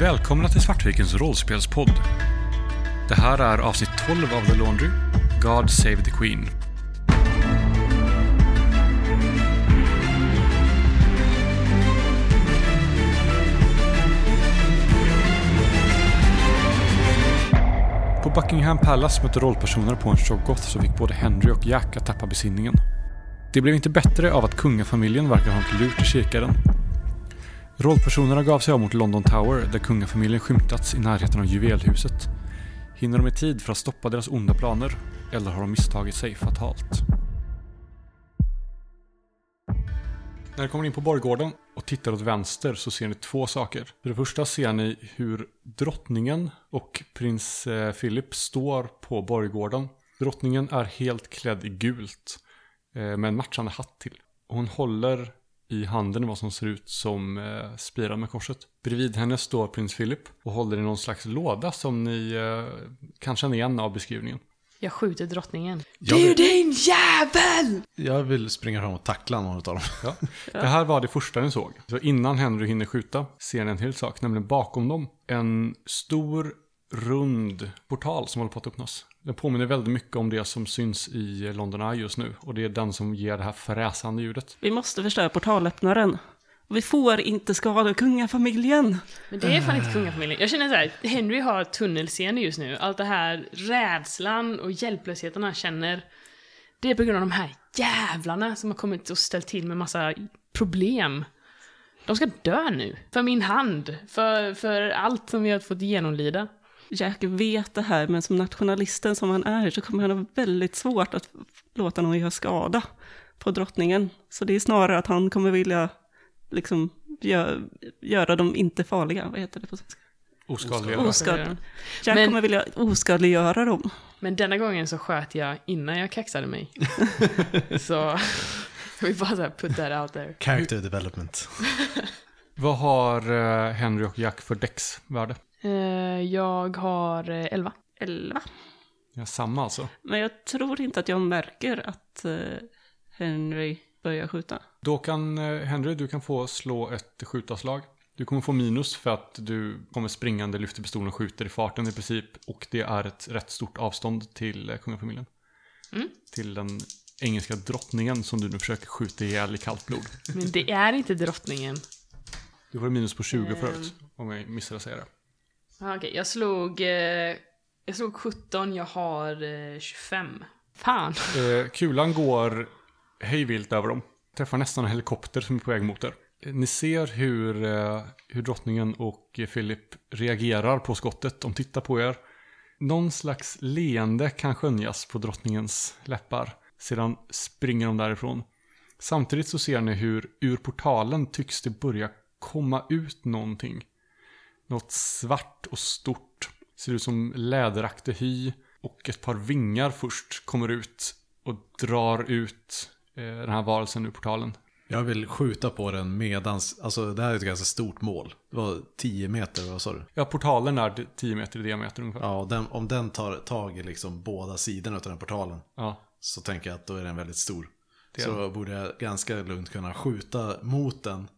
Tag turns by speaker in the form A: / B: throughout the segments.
A: Välkomna till Svartvikens rollspelspodd. Det här är avsnitt 12 av The Laundry, God Save the Queen. På Buckingham Palace mötte rollpersoner på en shoggoth som fick både Henry och Jack att tappa besinningen. Det blev inte bättre av att kungafamiljen verkar ha ett lurt i kikaren. Rollpersonerna gav sig av mot London Tower där kungafamiljen skymtats i närheten av juvelhuset. Hinner de i tid för att stoppa deras onda planer? Eller har de misstagit sig fatalt? När ni kommer in på borggården och tittar åt vänster så ser ni två saker. För det första ser ni hur drottningen och prins eh, Philip står på borggården. Drottningen är helt klädd i gult eh, med en matchande hatt till. Och hon håller i handen vad som ser ut som eh, spirar med korset. Bredvid henne står prins Philip och håller i någon slags låda som ni eh, kan känna igen av beskrivningen.
B: Jag skjuter drottningen.
C: Jag vill,
B: din jävel!
C: jag vill springa fram och tackla någon av dem.
A: Ja. Det här var det första ni såg. Så innan Henry hinner skjuta ser ni en till sak, nämligen bakom dem. En stor rund portal som håller på att öppnas. Den påminner väldigt mycket om det som syns i London Eye just nu. Och det är den som ger det här fräsande ljudet.
D: Vi måste förstöra portalöppnaren. Och vi får inte skada kungafamiljen.
B: Men det är fan inte kungafamiljen. Jag känner så här, Henry har tunnelseende just nu. Allt det här rädslan och hjälplösheten han känner. Det är på grund av de här jävlarna som har kommit och ställt till med massa problem. De ska dö nu. För min hand. För, för allt som vi har fått genomlida.
D: Jack vet det här, men som nationalisten som han är så kommer han ha väldigt svårt att låta någon göra skada på drottningen. Så det är snarare att han kommer vilja liksom, gö- göra dem inte farliga. Vad heter det på svenska?
A: Oskadliga.
B: Oskadliga.
D: Oskadliga. Jack
B: Men-
D: kommer vilja oskadliggöra dem.
B: Men denna gången så sköt jag innan jag kaxade mig. så... Jag vill bara så här put that out there.
C: Character development.
A: Vad har eh, Henry och Jack för däcksvärde?
B: Eh, jag har eh, 11.
D: Elva.
A: Ja, samma alltså.
D: Men jag tror inte att jag märker att eh, Henry börjar skjuta.
A: Då kan eh, Henry, du kan få slå ett skjutarslag. Du kommer få minus för att du kommer springande, lyfter pistolen och skjuter i farten i princip. Och det är ett rätt stort avstånd till eh, kungafamiljen.
B: Mm.
A: Till den engelska drottningen som du nu försöker skjuta ihjäl i kallt blod.
B: Men det är inte drottningen.
A: Du får minus på 20
B: Ehm.
A: förut, om jag missade säga det.
B: Ja, Okej, jag slog... Eh, jag slog 17, jag har eh, 25. Fan.
A: Eh, kulan går hejvilt över dem. Träffar nästan en helikopter som är på väg mot er. Eh, Ni ser hur, eh, hur drottningen och eh, Philip reagerar på skottet. De tittar på er. Någon slags leende kan skönjas på drottningens läppar. Sedan springer de därifrån. Samtidigt så ser ni hur ur portalen tycks det börja komma ut någonting. Något svart och stort. Ser ut som läderaktig hy. Och ett par vingar först kommer ut och drar ut eh, den här varelsen ur portalen.
C: Jag vill skjuta på den medans, alltså det här är ett ganska stort mål. Det var 10 meter, vad sa du?
A: Ja, portalen är d- 10 meter i diameter ungefär. Ja.
C: Ja, och den, om den tar tag i liksom båda sidorna av den här portalen så tänker jag att då är den väldigt stor.
A: Det är
C: så borde jag ganska lugnt kunna skjuta mot den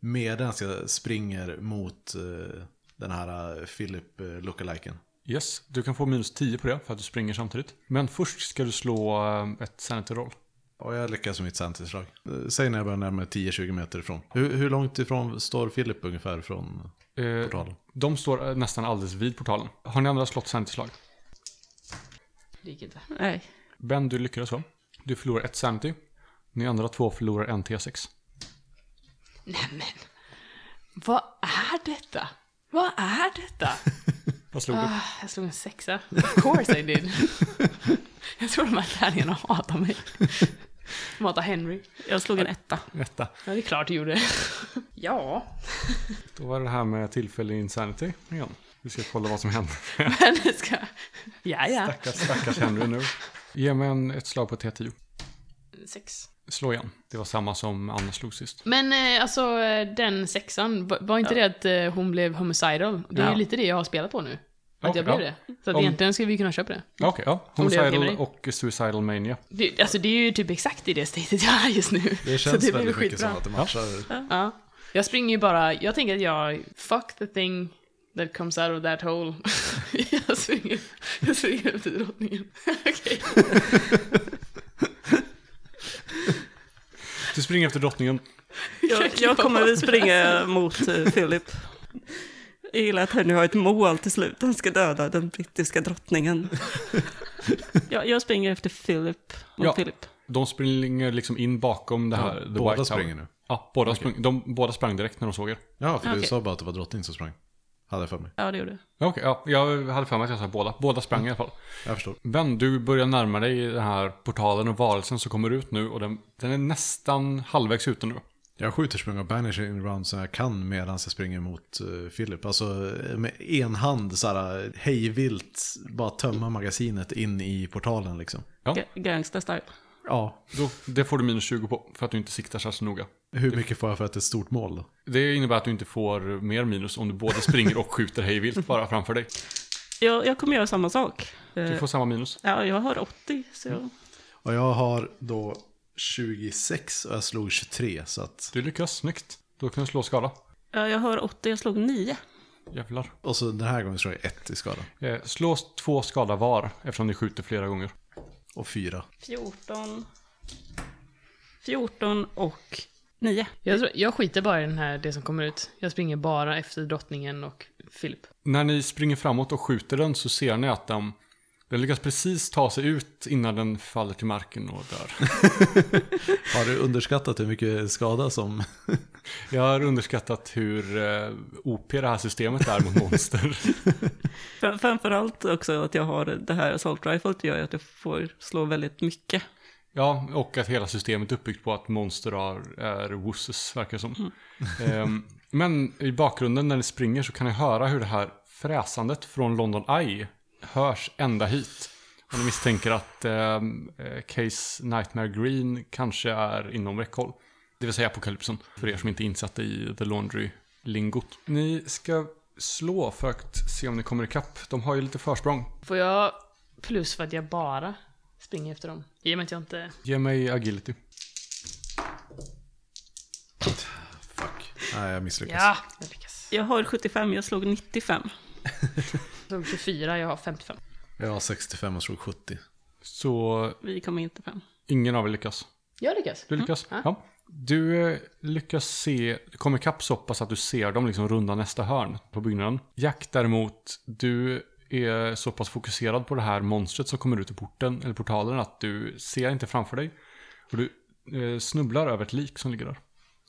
C: medan jag springer mot eh, den här eh, Philip eh, lookaliken.
A: Yes, du kan få minus 10 på det för att du springer samtidigt. Men först ska du slå eh, ett sanity roll.
C: Och jag lyckas med mitt centerslag. Eh, Säg när jag börjar närma mig 10-20 meter ifrån. Hur, hur långt ifrån står Philip ungefär från
A: Eh,
C: portalen?
A: de står eh, nästan alldeles vid portalen. Har ni andra slått sanity-slag?
B: Det gick inte.
D: Nej.
A: Ben, du lyckades va? Du förlorar ett sanity. Ni andra två förlorar en T6.
B: Nämen. Vad är detta? Vad är detta?
A: Vad slog du?
B: Ah, jag slog en sexa. Of course I did. jag tror de här lärlingarna hatar mig. De hatar Henry.
D: Jag slog en etta.
A: Etta.
B: Ja, det är klart du gjorde. ja.
A: Då var det här med tillfällig insanity igen. Vi ska kolla vad som händer.
B: Men det ska... Ja, ja.
A: Stackars, stackars Henry nu. Ge mig en, ett slag på T10.
B: Sex.
A: Slå igen. Det var samma som Anna slog sist.
B: Men eh, alltså eh, den sexan, va- var inte det att eh, hon blev homicidal? Det är
A: Ja.
B: ju lite det jag har spelat på nu. Att
A: Okej,
B: jag blev
A: ja.
B: det. Så att
A: Om-
B: egentligen skulle vi kunna köpa det.
A: Ja, Okej, ja.
B: Om det är okej
A: Homicidal
B: med
A: och suicidal mania.
B: det. Alltså det är ju typ exakt i det statet jag är just nu. så
C: Det känns
B: det blir
C: väldigt mycket
B: skitbra.
C: som att det matchar.
B: Ja. Jag springer ju bara, jag tänker att jag, fuck the thing That comes out of that hole. jag svänger, jag svänger efter drottningen. Okej.
A: Du springer efter drottningen.
B: Jag
D: Jag,
B: klipper
D: jag kommer
B: bort
D: vi
B: det
D: springa mot eh, Philip. Jag gillar att han nu har ett mål till slut. Han ska döda den brittiska drottningen. Jag, jag springer efter Philip. Mot
A: Ja.
D: Philip.
A: De springer liksom in bakom det här.
C: Ja,
A: the
C: båda
A: White Tower.
C: springer nu.
A: Ja, båda, sprang, de, båda sprang direkt när de såg er.
C: Ja, för du
D: Okej.
C: sa bara att det var drottningen som sprang. Hade jag för mig.
D: Ja, det gjorde jag.
A: Ja, Okej, ja, jag hade för mig att jag sa båda. Båda sprang i alla fall.
C: Jag förstår.
A: Ben, du börjar närma dig den här portalen och varelsen som kommer ut nu och den, den är nästan halvvägs ute nu.
C: Jag skjuter spring och banishing round som jag kan medan jag springer mot eh, Philip. Alltså eh, med en hand så här eh, hejvilt bara tömma magasinet in i portalen liksom.
D: Ga- Gangsta style.
C: Ja.
A: Då, det får du minus 20 på för att du inte siktar särskilt noga.
C: Hur mycket får jag för att det är ett stort mål då?
A: Det innebär att du inte får mer minus om du både springer och skjuter hejvilt bara framför dig.
D: Jag, jag kommer göra samma sak.
A: Du
D: Eh,
A: får samma minus.
D: Ja, jag har 80, så jag...
C: Och jag har då 26 och jag slog 23 så att...
A: Du lyckas snyggt. Då kan du slå skada.
D: Ja, jag har 80, jag slog 9.
A: Jävlar.
C: Och så den här gången slår jag 1 i skada.
A: Eh, slå två skada var eftersom ni skjuter flera gånger.
C: Och 4.
D: 14. 14 och 9.
B: Jag, tror, jag skiter bara i den här, det som kommer ut. Jag springer bara efter drottningen och Philip.
A: När ni springer framåt och skjuter den så ser ni att den, den lyckas precis ta sig ut innan den faller till marken och dör.
C: Har du underskattat hur mycket skada som...
A: Jag har underskattat hur eh, OP det här systemet är mot monster.
D: Fram- Framförallt också att jag har det här assault rifle gör ju att jag får slå väldigt mycket.
A: Ja, och att hela systemet är uppbyggt på att monster har, är wusses, verkar det som. Ehm, men i bakgrunden när ni springer så kan ni höra hur det här fräsandet från London Eye hörs ända hit. Och ni misstänker att ehm, eh, Case Nightmare Green kanske är inom räckhåll. Det vill säga apokalypsen, för er som inte är insatta i The Laundry-lingot. Ni ska slå för att se om ni kommer ikapp. De har ju lite försprång.
B: Får jag plus för att jag bara springer efter dem? I och med att jag inte...
A: Ge mig agility.
C: Fuck. Nej, jag misslyckas.
B: Ja, jag lyckas.
D: Jag har 75, jag slog 95.
B: De 24, jag har 55.
C: Jag har 65 och slog 70.
A: Så
D: Vi kommer inte fram.
A: ingen av er lyckas.
B: Jag lyckas.
A: Du lyckas? Ja. Du eh, lyckas se, du kommer ikapp så pass att du ser dem liksom runda nästa hörn på byggnaden. Jack däremot, du är så pass fokuserad på det här monstret som kommer ut ur porten, eller portalen, att du ser inte framför dig. Och du eh, snubblar över ett lik som ligger där.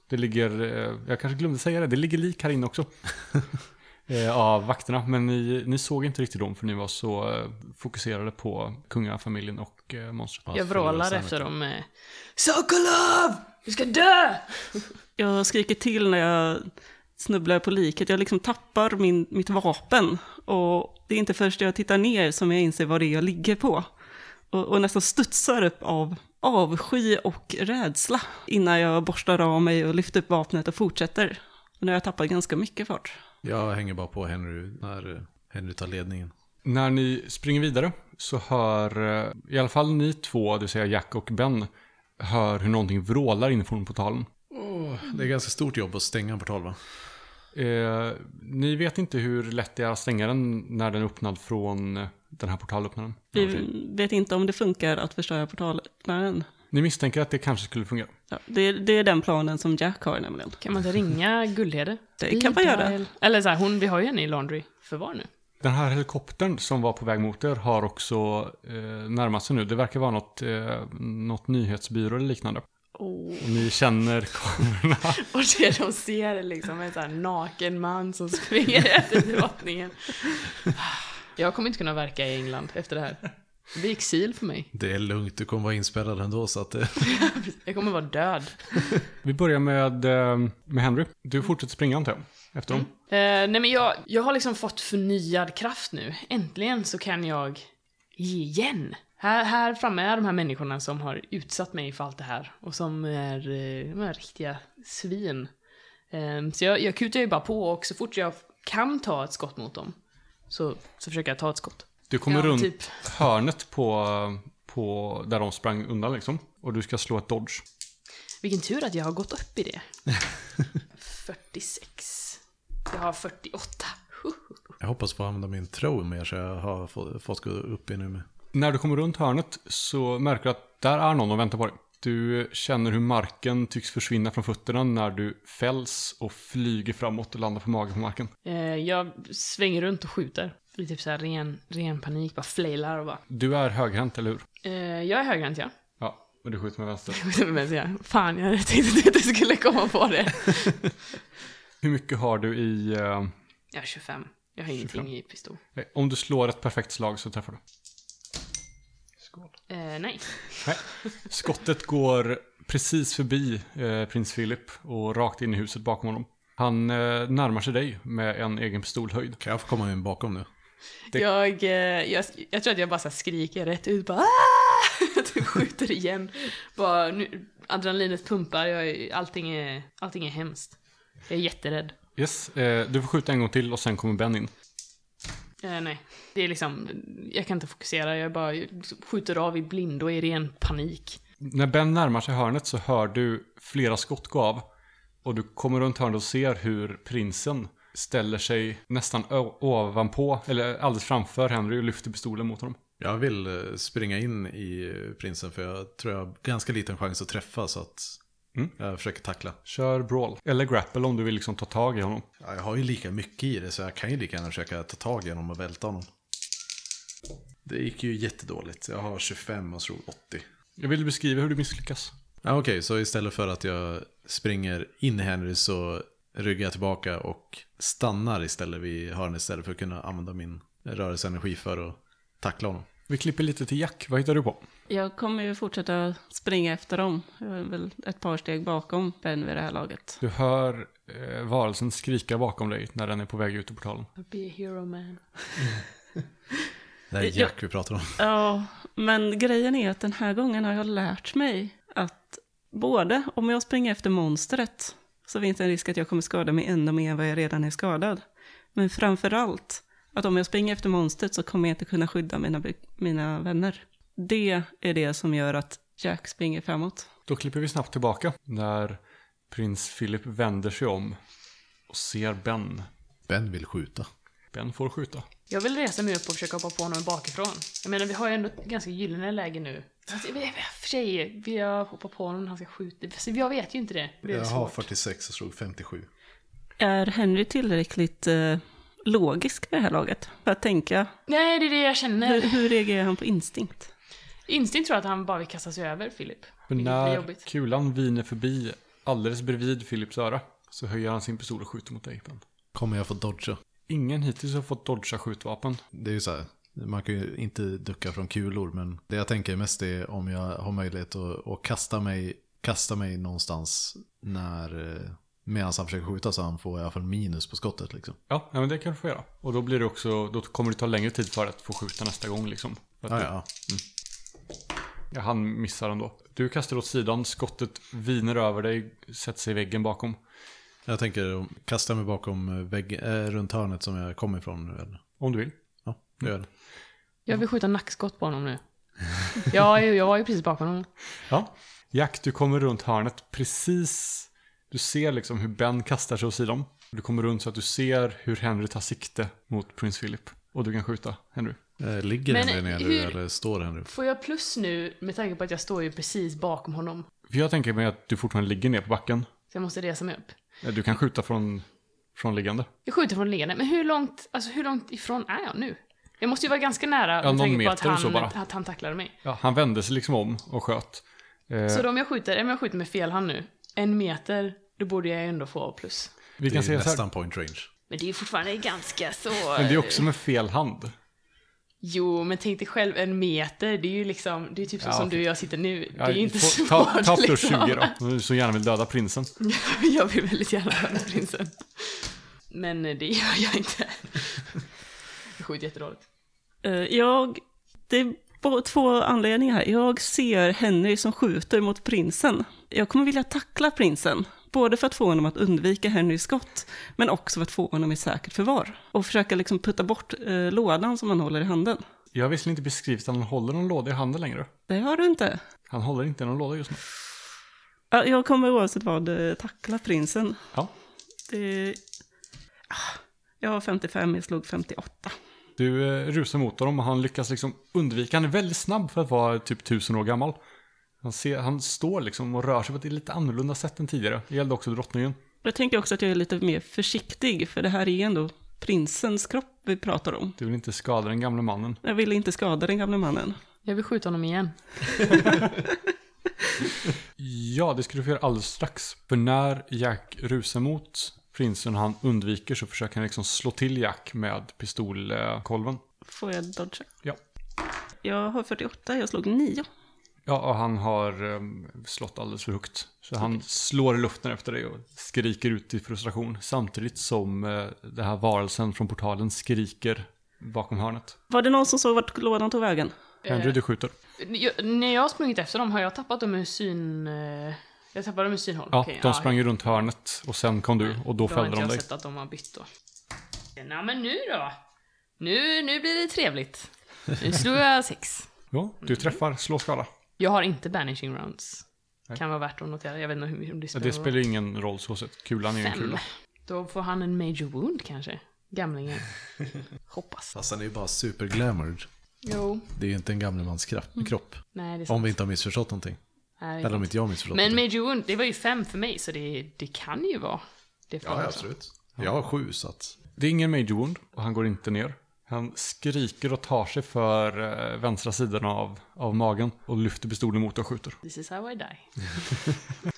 A: Det ligger, eh, jag kanske glömde säga det, det ligger lik här inne också. eh, av vakterna, men ni, ni såg inte riktigt dem för ni var så eh, fokuserade på kungafamiljen och eh, monstret.
B: Jag
C: förlorar
B: vrålar
C: sanity.
B: efter dem eh, med Sokolov! Du ska dö!
D: Jag skriker till när jag snubblar på liket. Jag liksom tappar min, mitt vapen. Och det är inte först jag tittar ner som jag inser vad det är jag ligger på. Och, och nästan studsar upp av avsky och rädsla innan jag borstar av mig och lyfter upp vapnet och fortsätter. Och när jag tappar ganska mycket fart.
C: Jag hänger bara på Henry när eh, Henry tar ledningen.
A: När ni springer vidare så hör eh, i alla fall ni två, det vill säga Jack och Ben, hör hur någonting vrålar inifrån portalen.
C: Det är ganska stort jobb att stänga en portal va?
A: Eh, ni vet inte hur lätt det är att stänga den när den är öppnad från eh, den här portalöppnaren.
D: Vi vet inte om det funkar att förstöra portalöppnaren.
A: Ni misstänker att det kanske skulle fungera.
D: Ja, det, är- det är den planen som Jack har nämligen.
B: Kan man inte ringa Guldhede?
D: Det kan man göra.
B: Eller så här, hon, vi har ju henne i laundry förvar nu.
A: Den här helikoptern som var på väg mot er har också eh, närmat sig nu. Det verkar vara något, eh, något nyhetsbyrå eller liknande. Och ni känner kamerorna.
B: Oh. Och det de ser är liksom en sån här naken man som springer efter drottningen. Jag kommer inte kunna verka i England efter det här. Det blir exil för mig.
C: Det är lugnt, du kommer vara inspärrad ändå så att eh, det...
B: Jag kommer vara död.
A: Vi börjar med, eh, med Henry. Du fortsätter springa antar jag, efter dem.
B: Eh, nej men jag, jag har liksom fått förnyad kraft nu. Äntligen så kan jag ge igen. Här, här framme är de här människorna som har utsatt mig för allt det här. Och som är, eh, de är riktiga svin. Eh, så jag, jag kutar ju bara på och så fort jag kan ta ett skott mot dem så, så försöker jag ta ett skott.
A: Du kommer
B: Ja,
A: runt
B: typ.
A: hörnet på, på där de sprang undan liksom. Och du ska slå ett dodge.
B: Vilken tur att jag har gått upp i det. 46. Jag har 48.
C: Jag hoppas få använda min tro mer så jag har få- fått gå upp i nu med.
A: När du kommer runt hörnet så märker du att där är någon och väntar på dig. Du känner hur marken tycks försvinna från fötterna när du fälls och flyger framåt och landar på magen på marken.
B: Eh, jag svänger runt och skjuter. I typ så här ren, ren panik, bara flailar och bara.
A: Du är högerhänt, eller hur?
B: Eh, jag är högerhänt ja.
A: Ja, och du skjuter med vänster.
B: Men jag, fan, jag tänkte inte att jag skulle komma på det.
A: Hur mycket har du i... Eh,
B: Jag är 25. Jag har ingenting
A: 25.
B: i pistol.
A: om du slår ett perfekt slag så träffar du. Skål.
B: Eh, nej.
A: Nej. Skottet går precis förbi eh, prins Philip och rakt in i huset bakom honom. Han eh, närmar sig dig med en egen pistolhöjd.
C: Kan jag få komma in bakom nu?
A: Det-
B: Jag, eh, jag, jag tror att jag bara så här skriker rätt ut bara "Ah!" typ skjuter igen. Bara, nu, adrenalinet pumpar, jag, är- allting, är, allting är hemskt. Jag är jätterädd.
A: Yes, eh, du får skjuta en gång till och sen kommer Ben in.
B: Eh, nej, det är liksom, jag kan inte fokusera, jag bara skjuter av i blindo och i ren panik.
A: När Ben närmar sig hörnet så hör du flera skott gå av. Och du kommer runt hörnet och ser hur prinsen ställer sig nästan ö- ovanpå, eller alldeles framför Henry och lyfter pistolen mot honom.
C: Jag vill eh, springa in i eh, prinsen för jag tror jag har ganska liten chans att träffa så att
A: Mm.
C: jag försöker tackla.
A: Kör brawl, eller grapple om du vill liksom ta tag i honom.
C: Ja, jag har ju lika mycket i det så jag kan ju lika gärna försöka ta tag i honom och välta honom. Det gick ju jättedåligt. Jag har 25 och slog 80.
A: Jag vill beskriva hur du misslyckas.
C: Ja, Okej, så istället för att jag springer in i Henry så ryggar jag tillbaka och stannar istället vid hörnet istället för att kunna använda min rörelseenergi för att tackla honom.
A: Vi klipper lite till Jack, vad hittar du på?
D: Jag kommer ju fortsätta springa efter dem. Jag är väl ett par steg bakom Ben vid det här laget.
A: Du hör eh, varelsen skrika bakom dig när den är på väg ut ur portalen.
B: Be a hero man.
C: Det är Jack vi pratar om.
D: Ja, men grejen är att den här gången har jag lärt mig att både om jag springer efter monstret så finns det en risk att jag kommer skada mig ännu mer än vad jag redan är skadad. Men framför allt att om jag springer efter monstret så kommer jag inte kunna skydda mina, by- mina vänner. Det är det som gör att Jack springer framåt.
A: Då klipper vi snabbt tillbaka när prins Philip vänder sig om och ser Ben.
C: Ben vill skjuta.
A: Ben får skjuta.
B: Jag vill resa mig upp och försöka hoppa på honom bakifrån. Jag menar, vi har ju ändå ett ganska gyllene läge nu. Fast jag vet- För sig, vill jag hoppa på honom när han ska skjuta? Fast eh, Jag vet ju inte det. Det är
C: Jag har
B: svårt.
C: 46 och slog 57.
D: Är Henry tillräckligt eh, logisk vid det här laget för att tänka
B: Nej, det är det jag känner.
D: Hur, hur reagerar han på instinkt?
B: Instinkt tror jag att han bara vill kasta sig över Filip.
A: Men
B: Vilket blir
A: när
B: jobbigt.
A: kulan viner förbi alldeles bredvid Philips öra så höjer han sin pistol och skjuter mot dig Ben.
C: Kommer jag få dodga?
A: Ingen hittills har fått dodga skjutvapen.
C: Det är ju så här, man kan ju inte ducka från kulor, men det jag tänker mest är om jag har möjlighet att, att kasta, mig, kasta mig någonstans när eh, medan han försöker skjuta så han får i alla fall minus på skottet liksom.
A: Ja, ja, men det kan du få göra. Och då blir det också, då kommer det ta längre tid för att få skjuta nästa gång liksom. För att
C: Ja,
A: du-
C: ja.
A: Ja, han missar ändå. Du kastar åt sidan, skottet viner över dig, sätter sig i väggen bakom.
C: Jag tänker om- kasta mig bakom väggen, eh, runt hörnet som jag kommer ifrån nu. Eller?
A: Om du vill.
C: Ja, det gör det.
B: Jag vill skjuta nackskott på honom nu. Jag, är ju- jag var ju precis bakom honom.
A: Ja. Jack, du kommer runt hörnet precis... Du ser liksom hur Ben kastar sig åt sidan. Du kommer runt så att du ser hur Henry tar sikte mot prins Philip. Och du kan skjuta Henry.
C: Eh, Ligger
B: Men
C: den där nere
B: hur-
C: eller står den nu?
B: Får jag plus nu med tanke på att jag står ju precis bakom honom?
A: För jag tänker mig att du fortfarande ligger ner på backen.
B: Så jag måste resa mig upp.
A: Eh, Du kan skjuta från, från liggande.
B: Jag skjuter från liggande, men hur långt, alltså hur långt ifrån är jag nu? Jag måste ju vara ganska nära
A: Ja,
B: med
A: någon
B: tanke på att
A: meter
B: han,
A: så bara.
B: att han tacklade mig.
A: Ja, han vände sig liksom om och sköt. Eh,
B: Så då om jag skjuter, även om jag skjuter med fel hand nu, en meter, då borde jag ju ändå få plus.
A: vi
C: Det
A: kan
C: är ju
A: säga så här.
C: nästan point range.
B: Men det är ju fortfarande ganska så...
A: Men det är också med fel hand.
B: Jo, men tänk dig själv en meter, det är ju liksom, det är typ så
A: Ja,
B: som
A: okej.
B: du och jag sitter nu.
A: Ja,
B: det är ju inte
A: få-
B: svårt
A: Ta, ta plus
B: liksom.
A: 20 då. Om du så gärna vill döda prinsen.
B: Jag vill väldigt gärna höra prinsen. Men eh, det gör jag inte. Jag skjuter jättedåligt.
D: Eh, Jag, det är bo- två anledningar här. Jag ser Henry som skjuter mot prinsen. Jag kommer vilja tackla prinsen. Både för att få honom att undvika Henrys skott, men också för att få honom i säkert förvar. Och försöka liksom putta bort eh, lådan som han håller i handen.
A: Jag har visserligen inte beskrivit att han håller någon låda i handen längre.
D: Det har du inte.
A: Han håller inte någon låda just nu.
D: Ja, Jag kommer oavsett vad eh, tackla prinsen.
A: Ja.
D: Det... Ah, Jag har 55, jag slog 58.
A: Du eh, rusar mot honom och han lyckas liksom undvika. Han är väldigt snabb för att vara typ tusen år gammal. Han, ser, han står liksom och rör sig på ett lite annorlunda sätt än tidigare. Det gällde också drottningen.
D: Jag tänker också att jag är lite mer försiktig, för det här är ändå prinsens kropp vi pratar om.
A: Du vill inte skada den gamle mannen.
D: Jag ville inte skada den gamle mannen.
B: Jag vill skjuta honom igen.
A: Ja, det skulle du få göra alldeles strax. För när Jack rusar mot prinsen och han undviker så försöker han liksom slå till Jack med pistolkolven.
D: Får jag dodga?
A: Ja.
D: Jag har 48, jag slog 9.
A: Ja, och han har um, slått alldeles för högt. Så han slår i luften efter dig och skriker ut i frustration. Samtidigt som uh, den här varelsen från portalen skriker bakom hörnet.
D: Var det någon som såg vart lådan tog vägen?
B: Eh,
A: Henry, du skjuter.
B: Jag, när jag har sprungit efter dem har jag tappat dem ur syn... eh, Jag tappade dem ur synhåll.
A: Ja,
B: Okej,
A: de sprang ju runt hörnet och sen kom du och då
B: Då har
A: fällde
B: inte
A: de
B: jag
A: dig.
B: sett att de har bytt då. Nej men nu då. Nu, nu blir det trevligt. Nu slog jag sex.
A: Ja, du
B: Mm.
A: träffar, slå skada.
B: Jag har inte banishing rounds. Kan vara värt att notera. Jag vet inte hur om det
A: Ja,
B: spelar
A: Det
B: någon
A: spelar ingen roll så sett. Kulan är ju en
B: roll.
A: kula.
B: Fem. Då får han en major wound kanske. Gamlingen. Hoppas.
C: Fast han är ju bara superglamored.
B: Jo.
C: Det är ju inte en gamlemanskrapp
B: Mm.
C: kropp.
B: Nej, det är sant.
C: Om vi inte har missförstått någonting.
B: Nej, det är
C: Eller om
B: sant.
C: inte jag har missförstått
B: Men
C: någonting.
B: major wound, det var ju fem för mig så det, det kan ju vara det för
C: Ja,
B: honom
C: ja,
B: också.
C: absolut. Jag har sju så att...
A: Det är ingen major wound och han går inte ner. Han skriker och tar sig för eh, vänstra sidan av, av magen och lyfter pistolen mot dig och skjuter.
B: This is how I die.
A: Han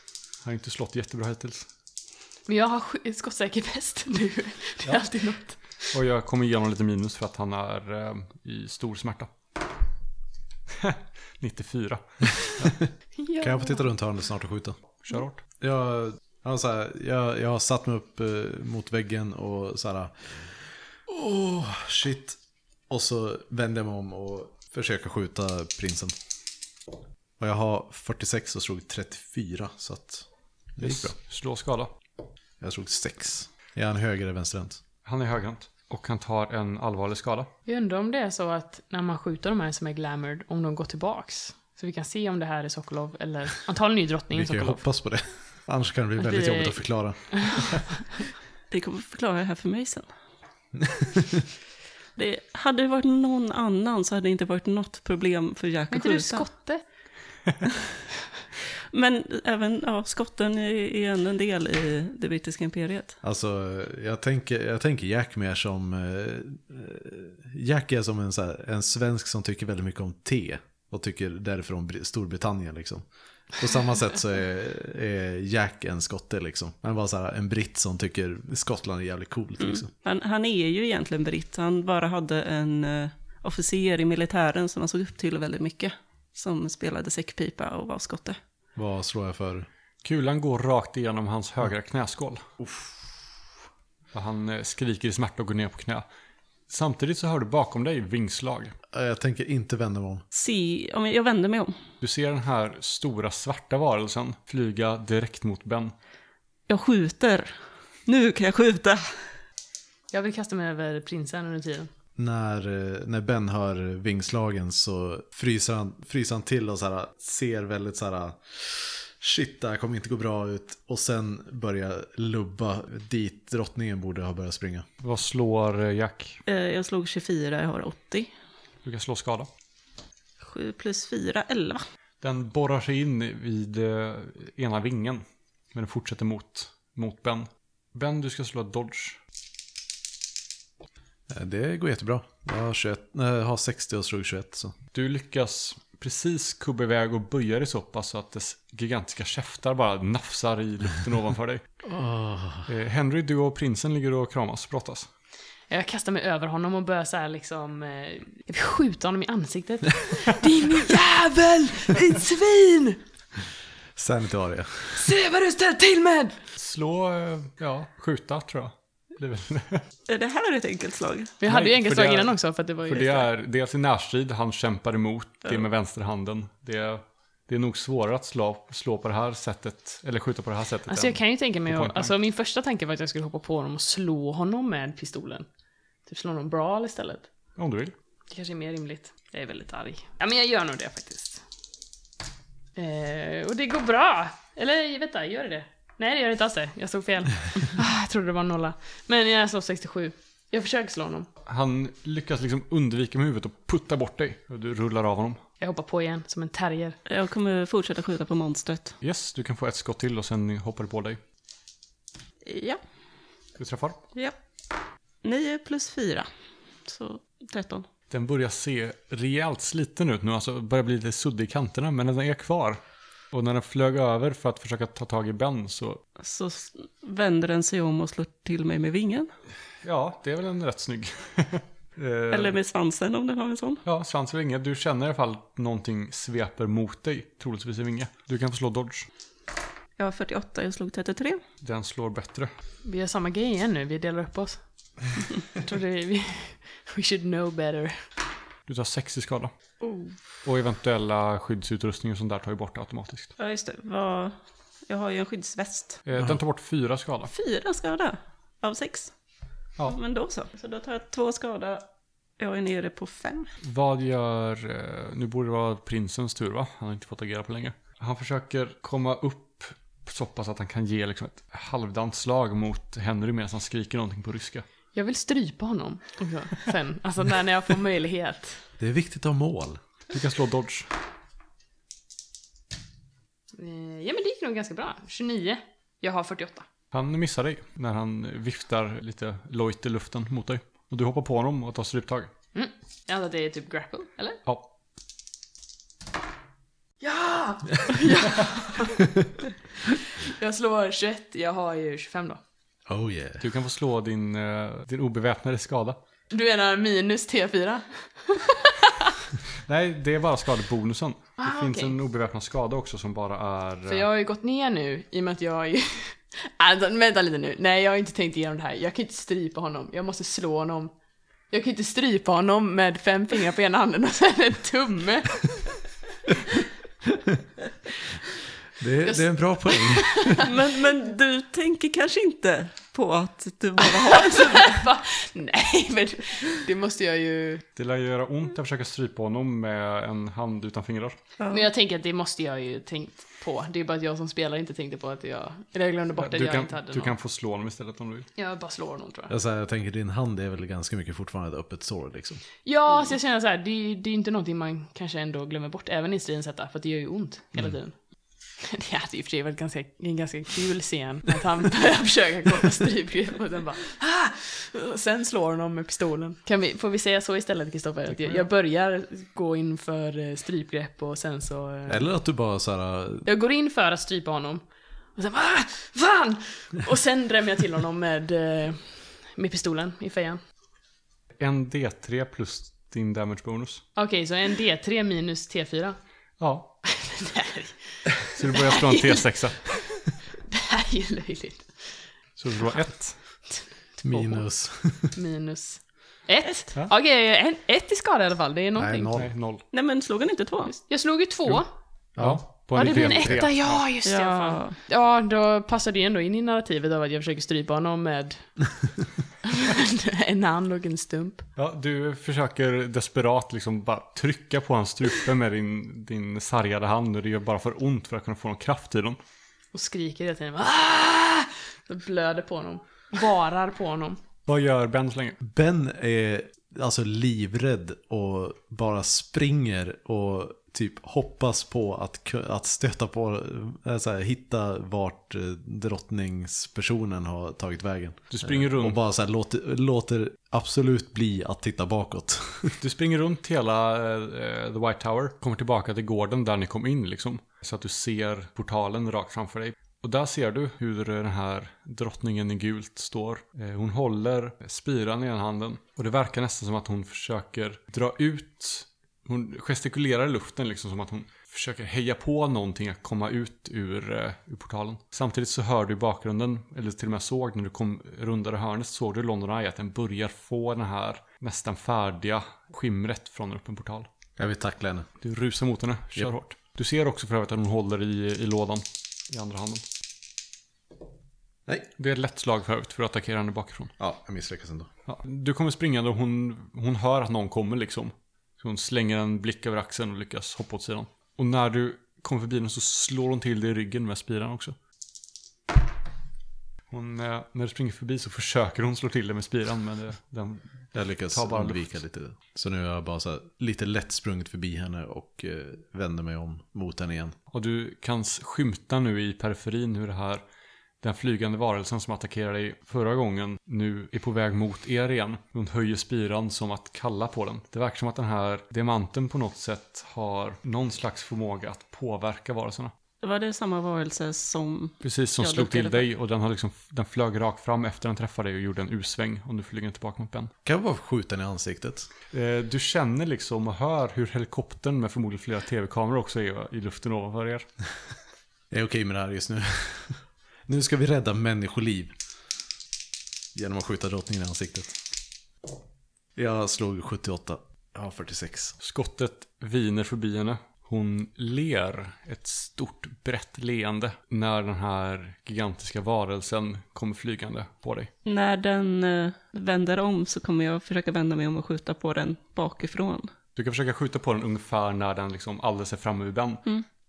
A: har inte slått jättebra hittills.
B: Men jag har sk- skottsäker väst nu. Det är alltid något.
A: Och jag kommer ge honom lite minus för att han är eh, i stor smärta. 94.
B: Ja.
C: Kan jag få titta runt hörnet snart och skjuta?
A: Kör hårt.
C: Jag, jag, har så här, jag, jag har satt mig upp eh, mot väggen och så här... Åh, shit. Och så vänder jag mig om och försöker skjuta prinsen. Och jag har 46 och slog 34 så att det gick bra.
A: Slå skada.
C: Jag slog 6. Är han höger eller vänsterhänt?
A: Han är högerhänt och han tar en allvarlig skada.
B: Jag undrar om det är så att när man skjuter de här som är glamored, om de går tillbaks. Så vi kan se om det här är Sokolov eller antagligen är ju drottningen
C: Vi kan ju
B: Sokolov.
C: hoppas på det. Annars kan det bli
B: Att
C: väldigt
B: vi-
C: jobbigt att förklara.
D: Det kommer förklara det här för mig sen. det, hade det varit någon annan så hade det inte varit något problem för Jack
B: Men
D: att
B: inte du
D: skjuta.
B: skotte?
D: Men även ja, skotten är är ändå en del i det brittiska imperiet.
C: Alltså, jag tänker, jag tänker Jack mer som... eh, Jack är som en, så här, en svensk som tycker väldigt mycket om te. Och tycker därför om Br- Storbritannien liksom. På samma sätt så är, är Jack en skotte liksom. Han var så här, en britt som tycker Skottland är jävligt coolt liksom.
D: Han, han är ju egentligen britt, han bara hade en eh, officer i militären som han såg upp till väldigt mycket. Som spelade säckpipa och var skotte.
C: Vad slår jag för?
A: Kulan går rakt igenom hans högra knäskål. Och han eh, skriker i smärta och går ner på knä. Samtidigt så hör du bakom dig vingslag.
C: Eh, Jag tänker inte vända mig om.
D: Se, om jag, jag vänder mig om.
A: Du ser den här stora svarta varelsen flyga direkt mot Ben.
D: Jag skjuter. Nu kan jag skjuta.
B: Jag vill kasta mig över prinsen under tiden.
C: När, eh, när Ben hör vingslagen så fryser han, fryser han till och så här, ser väldigt så här shit det här kommer inte gå bra ut och sen börjar lubba dit drottningen borde ha börjat springa.
A: Vad slår eh, Jack?
D: Eh, Jag slog 24, jag har 80.
A: Du kan slå skada.
D: 7 plus 4, 11.
A: Den borrar sig in vid eh, ena vingen. Men den fortsätter mot, mot Ben. Ben, du ska slå Dodge.
C: Eh, Det går jättebra. Jag har, 21, nej, jag har 60 och slog 21 så.
A: Du lyckas precis kubba iväg och böja dig så pass så att dess gigantiska käftar bara nafsar i luften ovanför dig. Eh, Henry, du och prinsen ligger och kramas, brottas.
B: Jag kastar mig över honom och börjar så här liksom... eh, Jag vill skjuta honom i ansiktet. Din jävel! Ditt svin!
C: Sanity har jag.
B: Se vad du ställt till med!
A: Slå, eh, ja, skjuta tror jag. Det är väl-
D: Är det här ett enkelt slag?
B: Vi hade
A: Nej,
B: ju enkelt
A: för det
B: slag
A: är-
B: innan också för att det var ju...
A: För det är dels i närstrid, han kämpar emot, det är med vänsterhanden. Det är, det är nog svårare att slå, slå på det här sättet, eller skjuta på det här sättet.
B: Alltså
A: än-
B: jag kan ju tänka mig
A: på point
B: att,
A: blank.
B: alltså min första tanke var att jag skulle hoppa på honom och slå honom med pistolen. Typ slå honom brawl istället.
A: Om du vill.
B: Det kanske är mer rimligt. Jag är väldigt arg. Ja men jag gör nog det faktiskt. Eh, och det går bra! Eller vänta, gör det det? Nej det gör det inte alls det. Jag såg fel. ah, jag trodde det var en nolla. Men jag slog 67. Jag försöker slå honom.
A: Han lyckas liksom undvika med huvudet och putta bort dig. Och Du rullar av honom.
B: Jag hoppar på igen, som en terrier.
D: Jag kommer fortsätta skjuta på monstret.
A: Yes, du kan få ett skott till och sen hoppar du på dig.
D: Ja,
A: Du träffar.
D: ja. 9 plus 4. Så 13.
A: Den börjar se rejält sliten ut nu, alltså börjar bli lite suddig i kanterna, men den är kvar. Och när den flög över för att försöka ta tag i Ben så,
D: Så s- vänder den sig om och slår till mig med vingen.
A: ja, det är väl en rätt snygg. Eh,
D: Eller med svansen om den har en sån.
A: Ja, svans och vinge. Du känner i alla fall att någonting sveper mot dig, troligtvis i vinge. Du kan få slå dodge.
D: Jag har 48, jag slog 33.
A: Den slår bättre.
B: Vi gör samma grej igen nu, vi delar upp oss. Jag tror det är vi... We should know better.
A: Du tar 60 skada. Och eventuella skyddsutrustning och sånt där tar ju bort det automatiskt.
D: Ja, just det. Vad... Jag har ju en skyddsväst.
A: Eh, Den tar bort fyra skada.
D: Fyra skada av sex.
A: Ja.
D: Men då så. Så då tar jag två skada. Jag är nere på fem.
A: Vad gör... eh, Nu borde det vara prinsens tur va? Han har inte fått agera på länge. Han försöker komma upp så pass att han kan ge liksom ett halvdant slag mot Henry medan han skriker någonting på ryska.
B: Jag vill strypa honom också, sen. Alltså när när jag får möjlighet.
C: Det är viktigt att ha mål.
A: Du kan slå dodge.
B: Eh, Ja men det gick nog ganska bra. 29. Jag har 48.
A: Han missar dig när han viftar lite lojt i luften mot dig. Och du hoppar på honom och tar stryptag.
B: Mm. Jag antar att det är typ grapple, eller?
A: Ja.
B: Ja! jag slår 21, jag har ju 25 då.
C: Oh yeah.
A: Du kan få slå din, eh, din obeväpnade skada.
B: Du menar minus T4?
A: Nej, det är bara skadebonusen. det
B: Ah,
A: finns
B: okej.
A: en obeväpnad skada också som bara är...
B: För jag har ju gått ner nu i och med att jag är... Alltså, vänta lite nu. Nej, jag har inte tänkt igenom det här. Jag kan inte strypa honom. Jag måste slå honom. Jag kan inte strypa honom med fem fingrar på ena handen och sen en tumme.
C: Det, det är en bra poäng.
D: Men, men du tänker kanske inte på att du bara har en sån.
B: Va? Nej, men det måste jag ju...
A: Det lär göra ont att försöka strypa honom med en hand utan fingrar.
B: Men jag tänker att det måste jag ju tänkt på. Det är bara att jag som spelare inte tänkte på att jag... Eller jag glömde bort att
A: Du
B: jag
A: kan,
B: inte hade
A: du
B: någon.
A: kan få slå honom istället om du vill.
B: Jag bara slår honom tror jag.
C: Jag, så här, Alltså, jag tänker din hand är väl ganska mycket fortfarande ett öppet sår liksom.
B: Ja, så jag känner så här, det, är- det är inte någonting man kanske ändå glömmer bort, även i stridens hetta, för att det gör ju ont hela tiden. Det hade ju i och för sig varit ganska, en ganska kul scen, att han börjar försöka gå på strypgrepp och sen bara ah! och Sen slår honom med pistolen. Kan vi, får vi säga så istället, Kristoffer? Att Jag, jag börjar gå in för eh, strypgrepp och sen så... eh,
C: Eller att du bara så här,
B: Jag går in för att strypa honom. Och sen bara ah! Fan! Och sen drämmer jag till honom med, eh, med pistolen i fejan.
A: En D3 plus din damage bonus.
B: Okej, så en D3 minus T4.
A: Ja.
B: Nej.
A: Så du börjar slå en T6.
B: Det här är ju löjligt.
A: Så du slår ett.
C: minus.
B: Minus ett.
A: Ja.
B: Okej, en ett i skada i alla fall. Det är
C: Nej,
B: någonting.
C: noll.
A: Nej, noll.
D: Nej men slog han inte två?
B: jag slog ju två.
A: Ja, på
B: Ja,
A: en
B: det blir en
A: D3.
B: etta. Ja, just det.
D: Ja.
B: Ja. ja, då passar det ju ändå in i narrativet av att jag försöker strypa honom med en hand och en stump.
A: Ja, du försöker desperat liksom bara trycka på hans strupe med din, din sargade hand och det gör bara för ont för att kunna få någon kraft i dem.
B: Och skriker hela tiden. "Ah!" Så blöder på honom. Varar på honom.
A: Vad gör Ben så länge?
C: Ben är alltså livrädd och bara springer och typ hoppas på att, ku- att stöta på, eh, så här, hitta vart eh, drottningspersonen har tagit vägen. Eh,
A: Du springer
C: Och
A: runt,
C: bara så här, låter, låter absolut bli att titta bakåt.
A: du springer runt hela eh, The White Tower, kommer tillbaka till gården där ni kom in liksom. Så att du ser portalen rakt framför dig. Och där ser du hur den här drottningen i gult står. Eh, Hon håller spiran i ena handen. Och det verkar nästan som att hon försöker dra ut Hon gestikulerar i luften liksom som att hon försöker heja på någonting att komma ut ur, eh, ur portalen. Samtidigt så hör du i bakgrunden, eller till och med såg när du kom rundare hörnet, såg du London Eye att den börjar få den här nästan färdiga skimret från en öppen portal.
C: Jag vill tackla henne.
A: Du rusar mot henne, kör
C: Japp.
A: hårt. Du ser också för övrigt att hon håller i, i lådan i andra handen.
C: Nej,
A: Det är ett lätt slag för övrigt för att attackera henne bakifrån.
C: ja, jag misslyckas ändå.
A: Ja, du kommer springande och hon, hon hör att någon kommer liksom. Så hon slänger en blick över axeln och lyckas hoppa åt sidan. Och när du kommer förbi den så slår hon till dig i ryggen med spiran också. Hon, eh, när du springer förbi så försöker hon slå till dig med spiran, men det, den...
C: Jag lyckas
A: Ta bara
C: undvika
A: luft.
C: lite. Så nu har jag bara så här, lite lätt sprungit förbi henne och eh, vänder mig om mot henne igen.
A: Och du kan s- skymta nu i periferin hur det här, den flygande varelsen som attackerade dig förra gången nu är på väg mot er igen. Hon höjer spiran som att kalla på den. Det verkar som att den här diamanten på något sätt har någon slags förmåga att påverka varelserna.
D: Var det samma varelse som...
A: Precis som
D: Ja,
A: slog till
D: luckade
A: dig och den, har liksom, den flög rakt fram efter den träffade dig och gjorde en U-sväng och nu flyger den tillbaka mot Ben.
C: Kan jag bara skjuta henne i ansiktet?
A: Eh, Du känner liksom och hör hur helikoptern med förmodligen flera tv-kameror också är i luften ovanför er.
C: Jag är okej med det här just nu. nu ska vi rädda människoliv. Genom att skjuta drottningen i ansiktet. Jag slog 78. Jag har 46.
A: Skottet viner förbi henne. Hon ler ett stort brett leende när den här gigantiska varelsen kommer flygande på dig.
D: När den eh, vänder om så kommer jag försöka vända mig om och skjuta på den bakifrån.
A: Du kan försöka skjuta på den ungefär när den liksom alldeles är framme vid Ben.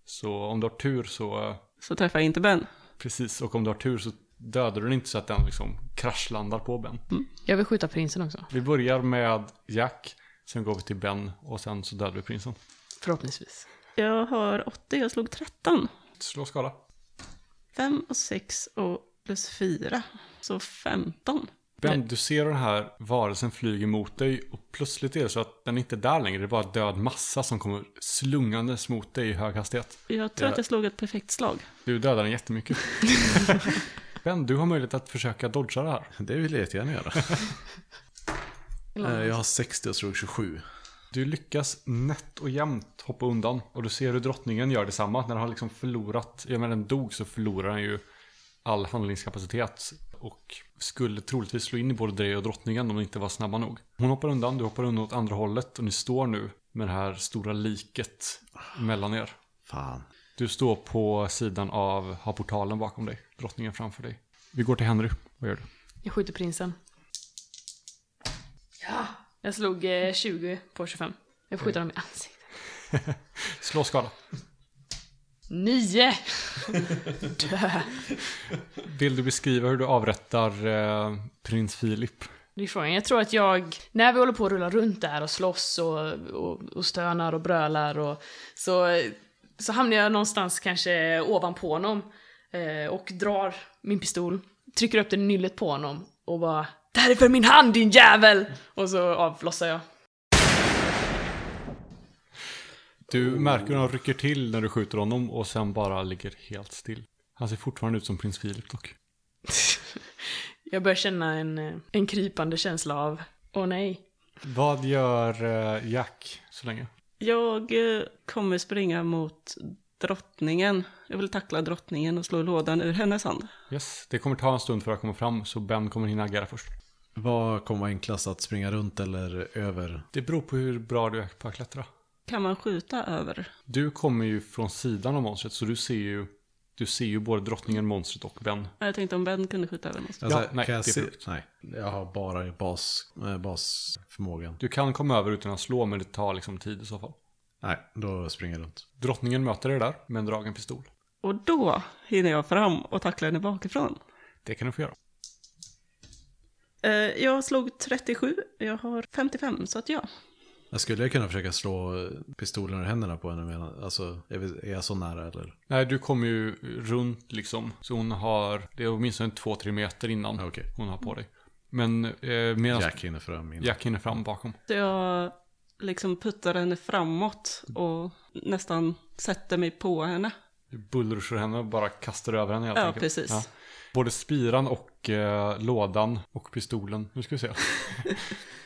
A: Så om du har tur så eh,
D: Så träffar jag inte Ben.
A: Precis, och om du har tur så dödar du den inte så att den liksom kraschlandar på Ben.
B: Jag vill skjuta prinsen också.
A: Vi börjar med Jack, sen går vi till Ben och sen så dödar vi prinsen.
B: Förhoppningsvis.
D: Jag har 80, jag slog 13.
A: Slå skada.
D: 5 och 6 och plus 4. Så 15.
A: Ben, du ser den här varelsen flyger mot dig och plötsligt är det så att den inte är där längre. Det är bara död massa som kommer slungandes mot dig i hög hastighet.
D: Jag tror
A: Ja.
D: att jag slog ett perfekt slag.
A: Du dödar den jättemycket. ben, du har möjlighet att försöka dodga det här.
C: Det vill jag jättegärna göra. Eh, jag har 60 och slog 27.
A: Du lyckas nätt och jämnt hoppa undan. Och du ser hur drottningen gör detsamma. När den har liksom förlorat, ja men den dog så förlorar den ju all handlingskapacitet. Och skulle troligtvis slå in i både dig och drottningen om de inte var snabba nog. Hon hoppar undan, du hoppar undan åt andra hållet och ni står nu med det här stora liket mellan er.
C: Fan.
A: Du står på sidan av, har portalen bakom dig, drottningen framför dig. Vi går till Henry, vad gör du?
B: Jag skjuter prinsen. Ja! Jag slog eh, 20 på 25. Jag skjuter dem i ansiktet.
A: Slå skada.
B: Nio!
A: Vill du beskriva hur du avrättar eh, prins Filip?
B: Det är frågan. Jag tror att jag, när vi håller på att rulla runt där och slåss och, och, och stönar och brölar och så, så hamnar jag någonstans kanske ovanpå honom eh, och drar min pistol, trycker upp den i nyllet på honom och bara Det här är för min hand din jävel! Och så avlossar jag.
A: Du märker hur han rycker till när du skjuter honom och sen bara ligger helt still. Han ser fortfarande ut som prins Philip dock.
B: jag börjar känna en, eh, en krypande känsla av Åh nej.
A: Vad gör eh, Jack så länge?
D: Jag eh, kommer springa mot drottningen. Jag vill tackla drottningen och slå lådan ur hennes hand.
A: Yes, det kommer ta en stund för att komma fram så Ben kommer hinna agera först.
C: Vad kommer vara enklast att springa runt eller över?
A: Det beror på hur bra du är på att klättra.
D: Kan man skjuta över?
A: Du kommer ju från sidan av monstret så du ser ju, du ser ju både drottningen, monstret och Ben.
D: Ja, Jag tänkte om Ben kunde skjuta över något.
C: Alltså,
A: Ja, nej,
C: kan jag
A: det är
C: se-
A: frukt.
C: Nej, jag har bara bas, eh, basförmågan.
A: Du kan komma över utan att slå men det tar liksom tid i så fall.
C: Nej, då springer jag runt.
A: Drottningen möter dig där med en dragen pistol.
D: Och då hinner jag fram och tacklar henne bakifrån.
A: Det kan du få göra.
D: Eh, Jag slog 37, jag har 55, så att ja.
C: Jag skulle kunna försöka slå eh, pistolen ur händerna på henne. Men alltså, är vi- är jag så nära eller?
A: Nej, du kommer ju runt liksom. Så hon har, det är åtminstone två, tre meter innan
C: Okej.
A: hon har på dig. Men eh, medan Jack.
C: Jack hinner fram innan.
A: Jack hinner fram bakom.
D: Så jag liksom puttar henne framåt och nästan sätter mig på henne.
A: Du bullrushar henne och bara kastar över henne helt
D: Ja,
A: enkelt.
D: precis.
A: Både spiran och eh, lådan och pistolen. Nu ska vi se.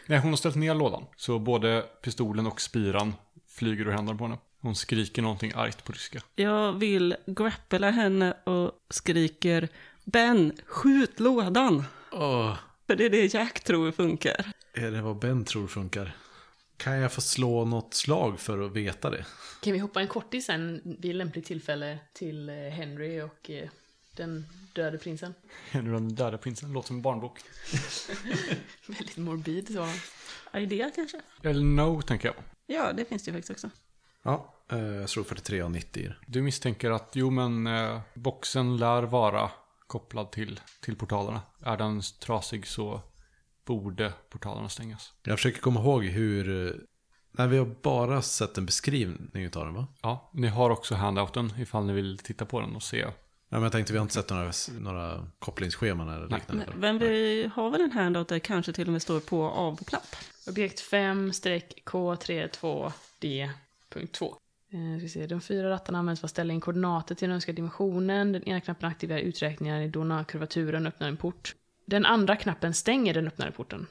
A: Nej, hon har ställt ner lådan. Så både pistolen och spiran flyger ur händerna på henne. Hon skriker någonting argt på ryska.
D: Jag vill grappla henne och skriker Ben, skjut lådan!
C: Åh,
D: För det är det Jack tror funkar.
C: är det vad Ben tror funkar? Kan jag få slå något slag för att veta det?
B: Kan vi hoppa en kortis sen vid lämpligt tillfälle till eh, Henry och eh, den döde prinsen?
A: Nu den döda prinsen låter som en barnbok.
B: Väldigt morbid sådan.
D: Idea kanske?
A: Eller no, tänker jag.
D: Ja, det finns det ju faktiskt också.
C: Ja, eh, jag slog 43 av 90 i det.
A: Du misstänker att, jo men eh, boxen lär vara kopplad till, till portalerna. Är den trasig så borde portalerna stängas.
C: Jag försöker komma ihåg hur... eh, Nej, vi har bara sett en beskrivning utav den va?
A: Ja, ni har också handouten ifall ni vill titta på den och se.
C: Nej, men jag tänkte vi har inte sett några, några kopplingsscheman eller liknande.
D: Men, men vi har väl en handout där kanske till och med står på avklapp.
B: Objekt 5-K32D.2. Eh, ska se. De fyra rattarna används för att ställa in koordinater till den önskade dimensionen. Den ena knappen aktiverar uträkningar i dona kurvaturen och öppnar en port. Den andra knappen stänger den öppnade porten.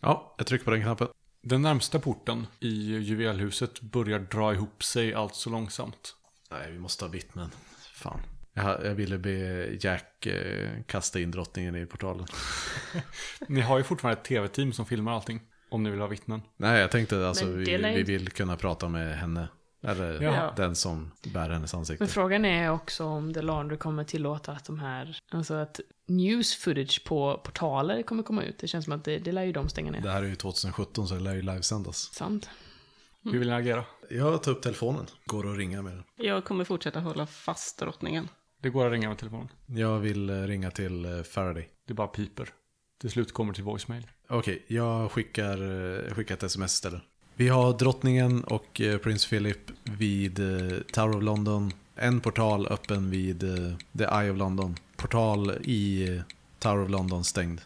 C: Ja, jag trycker på den knappen.
A: Den närmsta porten i juvelhuset börjar dra ihop sig allt så långsamt.
C: Nej, vi måste ha vittnen. Fan. Jag, jag ville be Jack eh, kasta in drottningen i portalen.
A: Ni har ju fortfarande ett tv-team som filmar allting. Om ni vill ha vittnen.
C: Nej, jag tänkte alltså
B: Men
C: vi,
B: det lär
C: vi
B: inte-
C: vill kunna prata med henne. Eller
A: Ja.
C: den som bär hennes ansikte.
B: Men frågan är också om The Laundry kommer tillåta att de här, alltså att news footage på portaler kommer komma ut. Det känns som att det, det lär ju de stänga ner.
C: Det här är ju 2017 så det lär ju livesändas.
B: Sant.
A: Hur vill ni agera?
C: Jag tar upp telefonen. Går och ringa med den.
D: Jag kommer fortsätta hålla fast drottningen.
A: Det går att ringa med telefonen.
C: Jag vill eh, ringa till eh, Faraday.
A: Det bara piper. Till slut kommer till voicemail.
C: Okej, jag skickar, eh, skickar ett sms istället. Vi har drottningen och eh, prins Philip vid eh, Tower of London. En portal öppen vid eh, The Eye of London. Portal i eh, Tower of London stängd.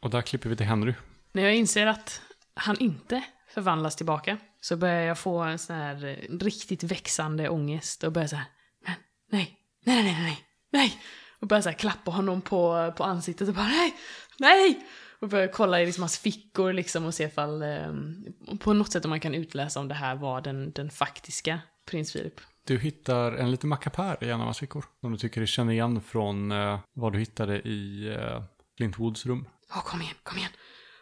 A: Och där klipper vi till Henry.
B: När jag inser att han inte förvandlas tillbaka så börjar jag få en sån här eh, riktigt växande ångest och börjar så här, men nej, nej, nej, nej, nej, nej. Och börjar så här klappa honom på, på ansiktet och bara nej, nej. Och börjar kolla i liksom hans fickor liksom och se ifall, eh, på något sätt om man kan utläsa om det här var den, den faktiska prins Philip.
A: Du hittar en liten mackapär i en av hans fickor. Som du tycker du känner igen från eh, vad du hittade i eh, Lintwoods rum.
B: Åh, kom igen, kom igen.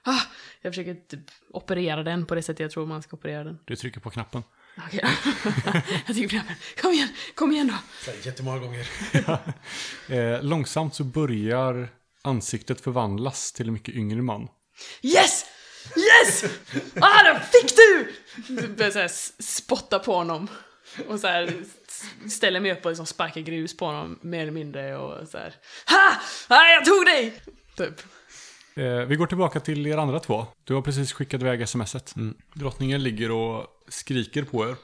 B: Ah, jag försöker typ operera den på det sättet jag tror man ska operera den.
A: Du trycker på knappen.
B: Okej. jag tycker det. Kom igen, kom igen då.
C: Jättemånga gånger.
A: Eh, långsamt så börjar ansiktet förvandlas till en mycket yngre man.
B: Yes! Yes! Ah, då fick du! Så Börjar så här s- spotta på honom. Och så här s- ställer mig upp och liksom sparkar grus på honom mer eller mindre och så här. Ha! Ah, jag tog dig! Typ.
A: Eh, vi går tillbaka till er andra två. Du har precis skickat iväg smset. Drottningen ligger och skriker på er.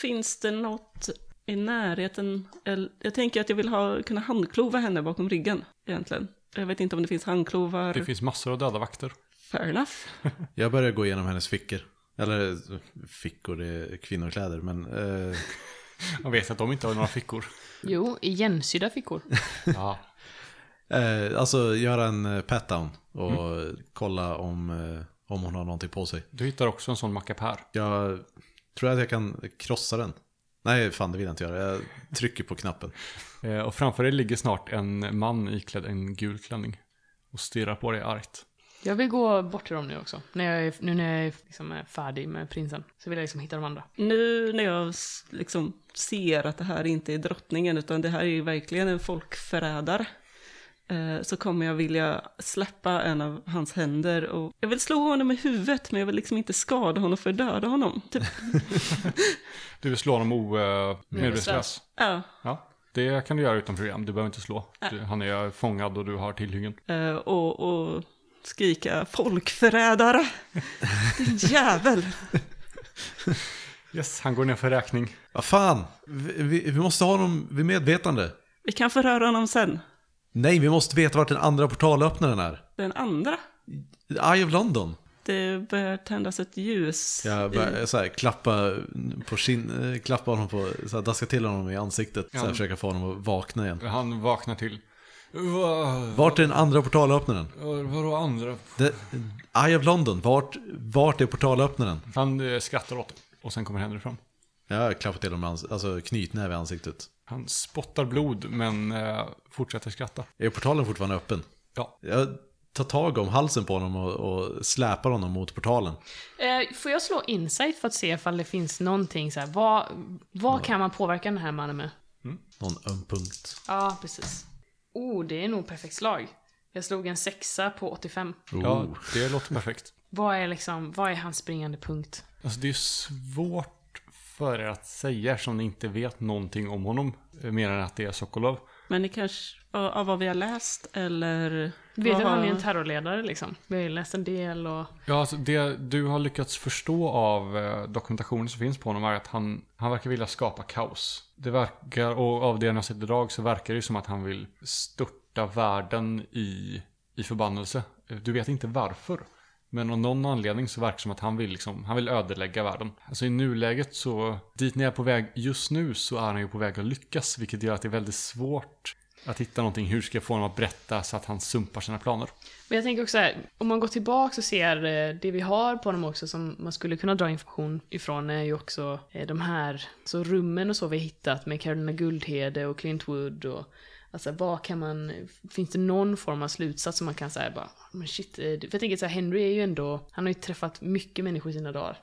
D: Finns det något i närheten? eller- Jag tänker att jag vill ha, kunna handklova henne bakom ryggen egentligen. Jag vet inte om det finns handklovar.
A: Det finns massor av döda vakter.
D: Fair enough.
C: Jag börjar gå igenom hennes fickor. Eller eh, fickor, det är kvinnokläder. Men eh,
A: Jag vet att de inte har några fickor.
B: Jo, igensydda fickor.
A: Ja.
C: eh, alltså göra en eh, pat-down och kolla om, eh, om hon har någonting på sig.
A: Du hittar också en sån mackapär.
C: Jag tror att jag kan krossa den. Nej, fan det vill jag inte göra. Jag trycker på knappen.
A: Eh, och framför dig ligger snart en man iklädd en gul klänning. Och stirrar på dig argt.
B: Jag vill gå bort till dem nu också. När jag är, nu när jag är liksom är färdig med prinsen. Så vill jag liksom hitta de andra.
D: Nu när jag s- liksom ser att det här inte är drottningen utan det här är ju verkligen en folkförrädare. eh, Så kommer jag vilja släppa en av hans händer och jag vill slå honom i huvudet men jag vill liksom inte skada honom för att döda honom. Typ.
A: Du vill slå honom o... Eh, medvetslös.
D: Ja.
A: Ja. Det kan du göra utan problem. Du behöver inte slå. Du, han är fångad och du har tillhyggen.
D: Eh, och, och skrika folkförrädare! Din jävel!
A: Yes, han går ner för räkning.
C: Vad fan! Vi, vi, vi måste ha dem vid medvetande.
D: Vi kan förhöra honom sen.
C: Nej, vi måste veta vart den andra portalöppnaren är.
D: Den andra.
C: Eye of London.
D: Det börjar tändas ett ljus.
C: Jag börjar så här, klappa, på kin, eh, klappa honom på, så här, daska till honom i ansiktet. Så här,
A: Ja.
C: försöka få honom att vakna igen.
A: Han vaknar till. Va,
C: Vart är den andra portalöppnaren?
A: vadå andra?
C: Det, Eye of London, vart, vart är portalöppnaren?
A: Han eh, skrattar åt det. och sen kommer Henry fram.
C: Jag klappar till honom med ans- alltså, knytnäve i ansiktet.
A: Han spottar blod men eh, fortsätter skratta.
C: Är portalen fortfarande öppen?
A: Ja.
C: Jag tar tag om halsen på honom och, och släpar honom mot portalen.
B: Eh, får jag slå insight för att se ifall det finns någonting så här, vad, vad kan man påverka den här mannen med?
C: Någon öm punkt.
B: Ja, precis. Oh, det är nog perfekt slag. Jag slog en sexa på 85.
C: Oh.
A: ja, det låter perfekt.
B: Vad är liksom, vad är hans springande punkt?
A: Alltså det är svårt för er att säga eftersom ni inte vet någonting om honom. eh, Mer än att det är Sokolov.
D: Men det kanske, av av vad vi har läst eller?
B: Vet
D: vad
B: att han
D: har-
B: är en terrorledare liksom. Vi har ju läst en del och...
A: Ja, alltså det du har lyckats förstå av eh, dokumentationen som finns på honom är att han, han verkar vilja skapa kaos. Det verkar, och av det jag har sett idag så verkar det ju som att han vill störta världen i, i förbannelse. Du vet inte varför. Men av någon anledning så verkar det som att han vill, liksom, han vill ödelägga världen. Alltså i nuläget så, dit ni är på väg just nu så är han ju på väg att lyckas. Vilket gör att det är väldigt svårt att hitta någonting. Hur ska jag få honom att berätta så att han sumpar sina planer?
B: Men jag tänker också så här, om man går tillbaka och ser eh, det vi har på honom också som man skulle kunna dra information ifrån är ju också eh, de här så rummen och så vi har hittat med Carolina Guldhede och Clint Wood och alltså vad kan man, finns det någon form av slutsats som man kan säga bara, men shit, eh, för jag tänker så här, Henry är ju ändå, han har ju träffat mycket människor i sina dagar.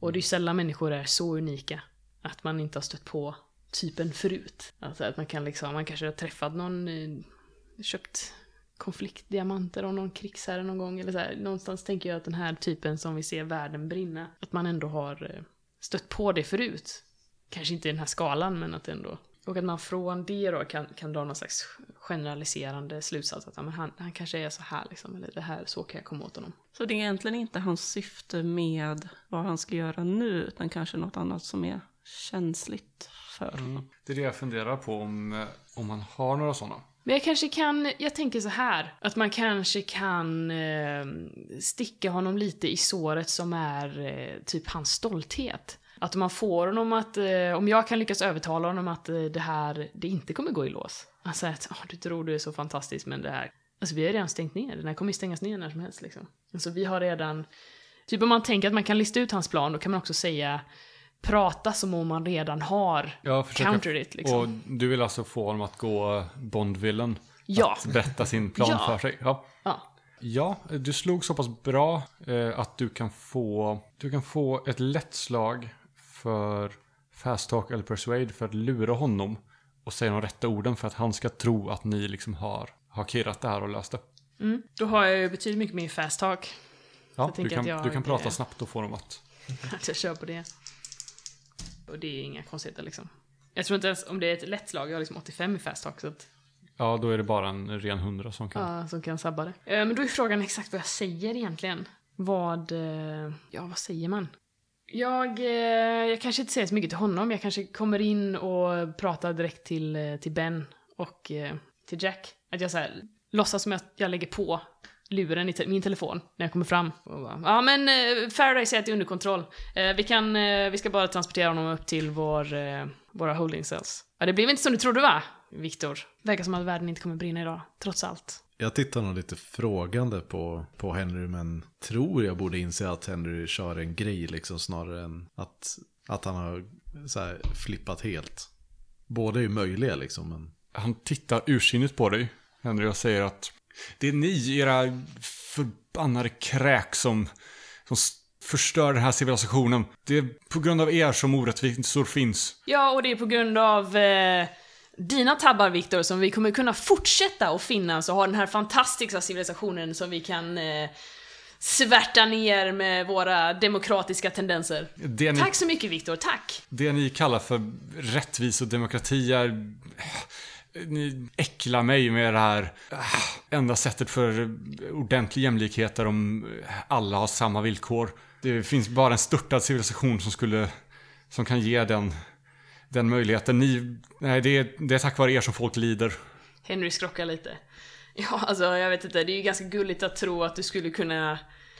B: Och det är ju sällan människor är så unika att man inte har stött på typen förut. Alltså att man kan liksom, man kanske har träffat någon, eh, köpt konfliktdiamanter av någon krigsherre någon gång. Eller så här. Någonstans tänker jag att den här typen som vi ser världen brinna, att man ändå har eh, stött på det förut. Kanske inte i den här skalan, men att ändå. Och att man från det då kan, kan dra någon slags generaliserande slutsats. Att ja, men han, han kanske är så här liksom, eller det här, så kan jag komma åt honom.
D: Så det är egentligen inte hans syfte med vad han ska göra nu, utan kanske något annat som är känsligt för.
A: Det är det jag funderar på om, eh, om man har några sådana.
B: Men jag kanske kan, jag tänker så här, att man kanske kan eh, sticka honom lite i såret som är eh, typ hans stolthet. Att man får honom att, eh, om jag kan lyckas övertala honom att eh, det här, det inte kommer gå i lås. Alltså att, "Ah, du tror du är så fantastisk men det här, alltså vi har redan stängt ner, den här kommer ju stängas ner när som helst liksom. Alltså vi har redan, typ om man tänker att man kan lista ut hans plan, då kan man också säga prata som om man redan har
A: Jag försöker,
B: counter it liksom.
A: Och du vill alltså få honom att gå Bondvillen?
B: Ja.
A: Att berätta sin plan
B: Ja.
A: för sig? Ja.
B: ja.
A: Ja, du slog så pass bra eh, att du kan få, du kan få ett lätt slag för fast talk eller persuade för att lura honom och säga de rätta orden för att han ska tro att ni liksom har, har kirrat det här och löst det.
B: Mm. Då har jag ju betydligt mycket mer fast talk.
A: Ja,
B: jag
A: du
B: tänker
A: kan,
B: att jag-
A: du kan prata
B: det-
A: snabbt och få dem att...
B: Att jag kör på det. Och det är inga konstigheter liksom. Jag tror inte ens om det är ett lätt slag, jag har liksom 85 i fast talk så att,
A: Ja, då är det bara en ren hundra som kan...
B: ja, som kan sabba det. Eh, Men då är frågan exakt vad jag säger egentligen. Vad, eh, ja vad säger man? Jag, eh, jag kanske inte säger så mycket till honom, jag kanske kommer in och pratar direkt till, eh, till Ben och eh, till Jack. Att jag så här, låtsas som att jag lägger på luren i te- min telefon när jag kommer fram. Och bara, ja men eh, Faraday säger att det är under kontroll. Eh, vi, kan, eh, vi ska bara transportera honom upp till vår, eh, våra holding cells. Ja det blev inte som du trodde va? Viktor. Verkar som att världen inte kommer brinna idag, trots allt.
C: Jag tittar nog lite frågande på, på Henry men tror jag borde inse att Henry kör en grej liksom snarare än att, att han har så här, flippat helt. Båda är ju möjliga liksom men
A: Han tittar ursinnigt på dig, Henry, och säger att det är ni, era förbannade kräk som, som s- förstör den här civilisationen. Det är på grund av er som orättvisor finns.
B: Ja, och det är på grund av eh, dina tabbar, Viktor, som vi kommer kunna fortsätta att finnas och ha den här fantastiska civilisationen som vi kan eh, svärta ner med våra demokratiska tendenser.
A: Det ni,
B: Tack så mycket, Viktor. Tack!
A: det ni kallar för rättvis och demokrati är... Ni äcklar mig med det här. Ah, Enda sättet för ordentlig jämlikhet är om alla har samma villkor. Det finns bara en störtad civilisation som skulle... Som kan ge den, den möjligheten. Ni... Nej, det är, det är tack vare er som folk lider.
B: Henry skrockar lite. Ja, alltså jag vet inte, det är ju ganska gulligt att tro att du skulle kunna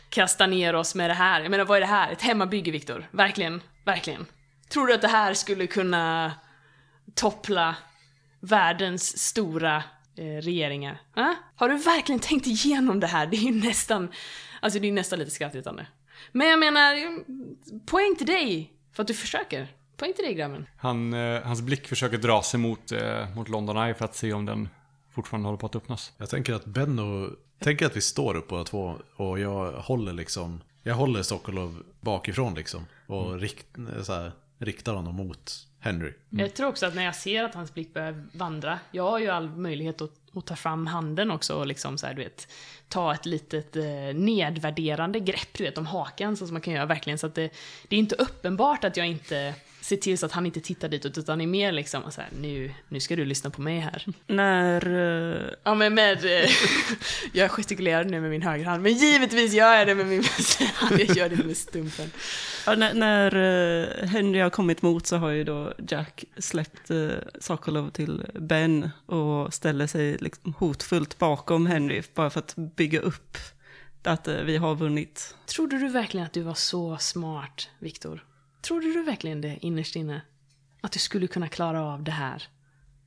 B: kasta ner oss med det här. Jag menar, vad är det här? Ett hemmabygge, Viktor. Verkligen, verkligen. Tror du att det här skulle kunna toppla världens stora eh, regeringar? Va? Har du verkligen tänkt igenom det här? Det är ju nästan, alltså det är ju nästan lite skrattretande. Men jag menar, poäng till dig för att du försöker. Poäng till dig grabben.
A: Han, eh, hans blick försöker dra sig mot, eh, mot London Eye för att se om den fortfarande håller på att öppnas.
C: jag tänker att Benno, tänker att vi står upp båda två och jag håller liksom, jag håller Sokolov bakifrån liksom och rikt, så här, riktar honom mot Henry.
B: Jag tror också att när jag ser att hans blick börjar vandra, jag har ju all möjlighet att, att ta fram handen också och liksom så här, du vet, ta ett litet eh, nedvärderande grepp, du vet, om hakan så som man kan göra verkligen så att det, det är inte uppenbart att jag inte se till så att han inte tittar ditåt, utan är mer liksom så här, nu, nu ska du lyssna på mig här.
D: När... eh,
B: Ja men med, eh, jag gestikulerar nu med min högerhand, men givetvis gör jag det med min vänsterhand, jag gör det med stumpen.
D: Ja, när, när eh, Henry har kommit mot så har ju då Jack släppt eh, Sokolov till Ben och ställer sig liksom hotfullt bakom Henry bara för att bygga upp att eh, vi har vunnit.
B: Trodde du verkligen att du var så smart, Viktor? Trodde du verkligen det innerst inne? Att du skulle kunna klara av det här?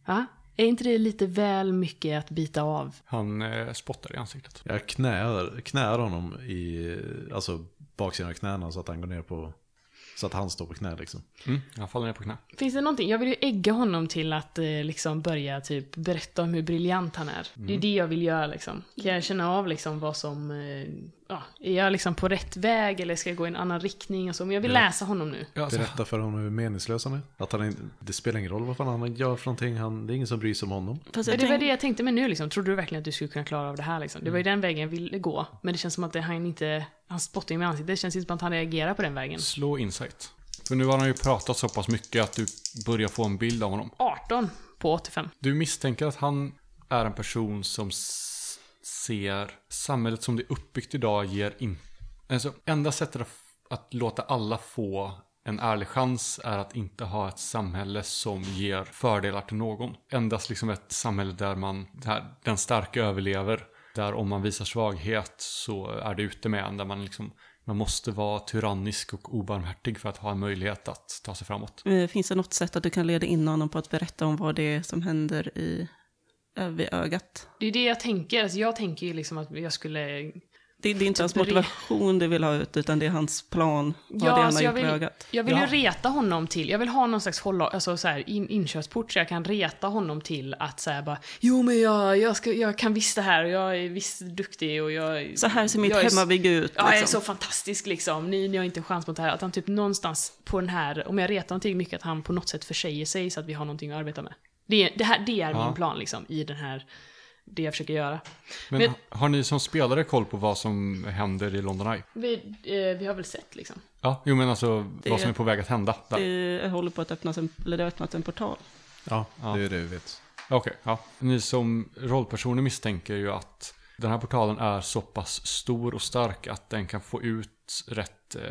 B: Va? Är inte det lite väl mycket att bita av?
A: Han eh, spottar i ansiktet.
C: Jag knär, knär honom i alltså, baksidan av knäna så att han går ner på... Så att han står på knä liksom.
A: Mm, han faller ner på knä.
B: Finns det någonting? Jag vill ju ägga honom till att eh, liksom börja typ berätta om hur briljant han är. Det är det jag vill göra liksom. Kan jag känna av liksom vad som, eh, ja, är jag liksom på rätt väg eller ska jag gå i en annan riktning och så? Men jag vill läsa honom nu.
A: Ja, alltså,
C: Berätta för honom hur meningslös han är. Att han inte, det spelar ingen roll vad fan han gör för någonting. Han, det är ingen som bryr sig om honom.
D: Fast
B: Men
D: jag
B: det var
D: tänk, Mm.
B: det jag tänkte med nu liksom. Trodde du verkligen att du skulle kunna klara av det här liksom? Det var ju den vägen jag ville gå. Men det känns som att det, han inte, han spottar ju med ansiktet. Det känns inte som att han reagerar på den vägen.
A: slå insight. För nu har han ju pratat så pass mycket att du börjar få en bild av honom.
B: 18 på 85.
A: Du misstänker att han är en person som s- ser samhället som det är uppbyggt idag ger in... Alltså, enda sättet att, att låta alla få en ärlig chans är att inte ha ett samhälle som ger fördelar till någon. Endast liksom ett samhälle där man, där den starka överlever. Där om man visar svaghet så är det ute med en. Där man liksom, man måste vara tyrannisk och obarmhärtig för att ha en möjlighet att ta sig framåt.
D: eh, finns det något sätt att du kan leda in honom på att berätta om vad det är som händer i, eh, vid ögat?
B: Det är ju det jag tänker. Alltså, jag tänker ju liksom att jag skulle...
D: Det, det är inte hans
B: Typ re-
D: motivation du vill ha ut, utan det är hans plan, vad det är han har
B: alltså, jag
D: gjort
B: vill,
D: med ögat.
B: jag vill
A: Ja.
B: ju reta honom till, jag vill ha någon slags hålla, alltså så här, in, inkörsport så jag kan reta honom till att så här bara Jo men jag, jag, ska, jag kan visst det här och jag är visst duktig och jag...
D: Så här ser mitt
B: jag är så-
D: hemmabygge ut.
B: Ja, jag är
D: liksom.
B: så fantastisk liksom. Ni, ni har inte en chans mot det här. Att han typ någonstans på den här, om jag retar honom tillräckligt mycket, att han på något sätt försäger sig så att vi har någonting att arbeta med. Det, det, här, det är min plan liksom, i den här, det jag försöker göra.
A: Men,
B: Men-
A: har ni som spelare koll på vad som händer i London Eye?
B: Vi, eh, vi har väl sett liksom.
A: Ja, jo men alltså vad som är på väg att hända där.
D: Det håller på att öppnas en, eller det har öppnat en portal.
C: Ja, det är det vi vet.
A: Okej, ja. Ni som rollpersoner misstänker ju att den här portalen är så pass stor och stark att den kan få ut rätt eh,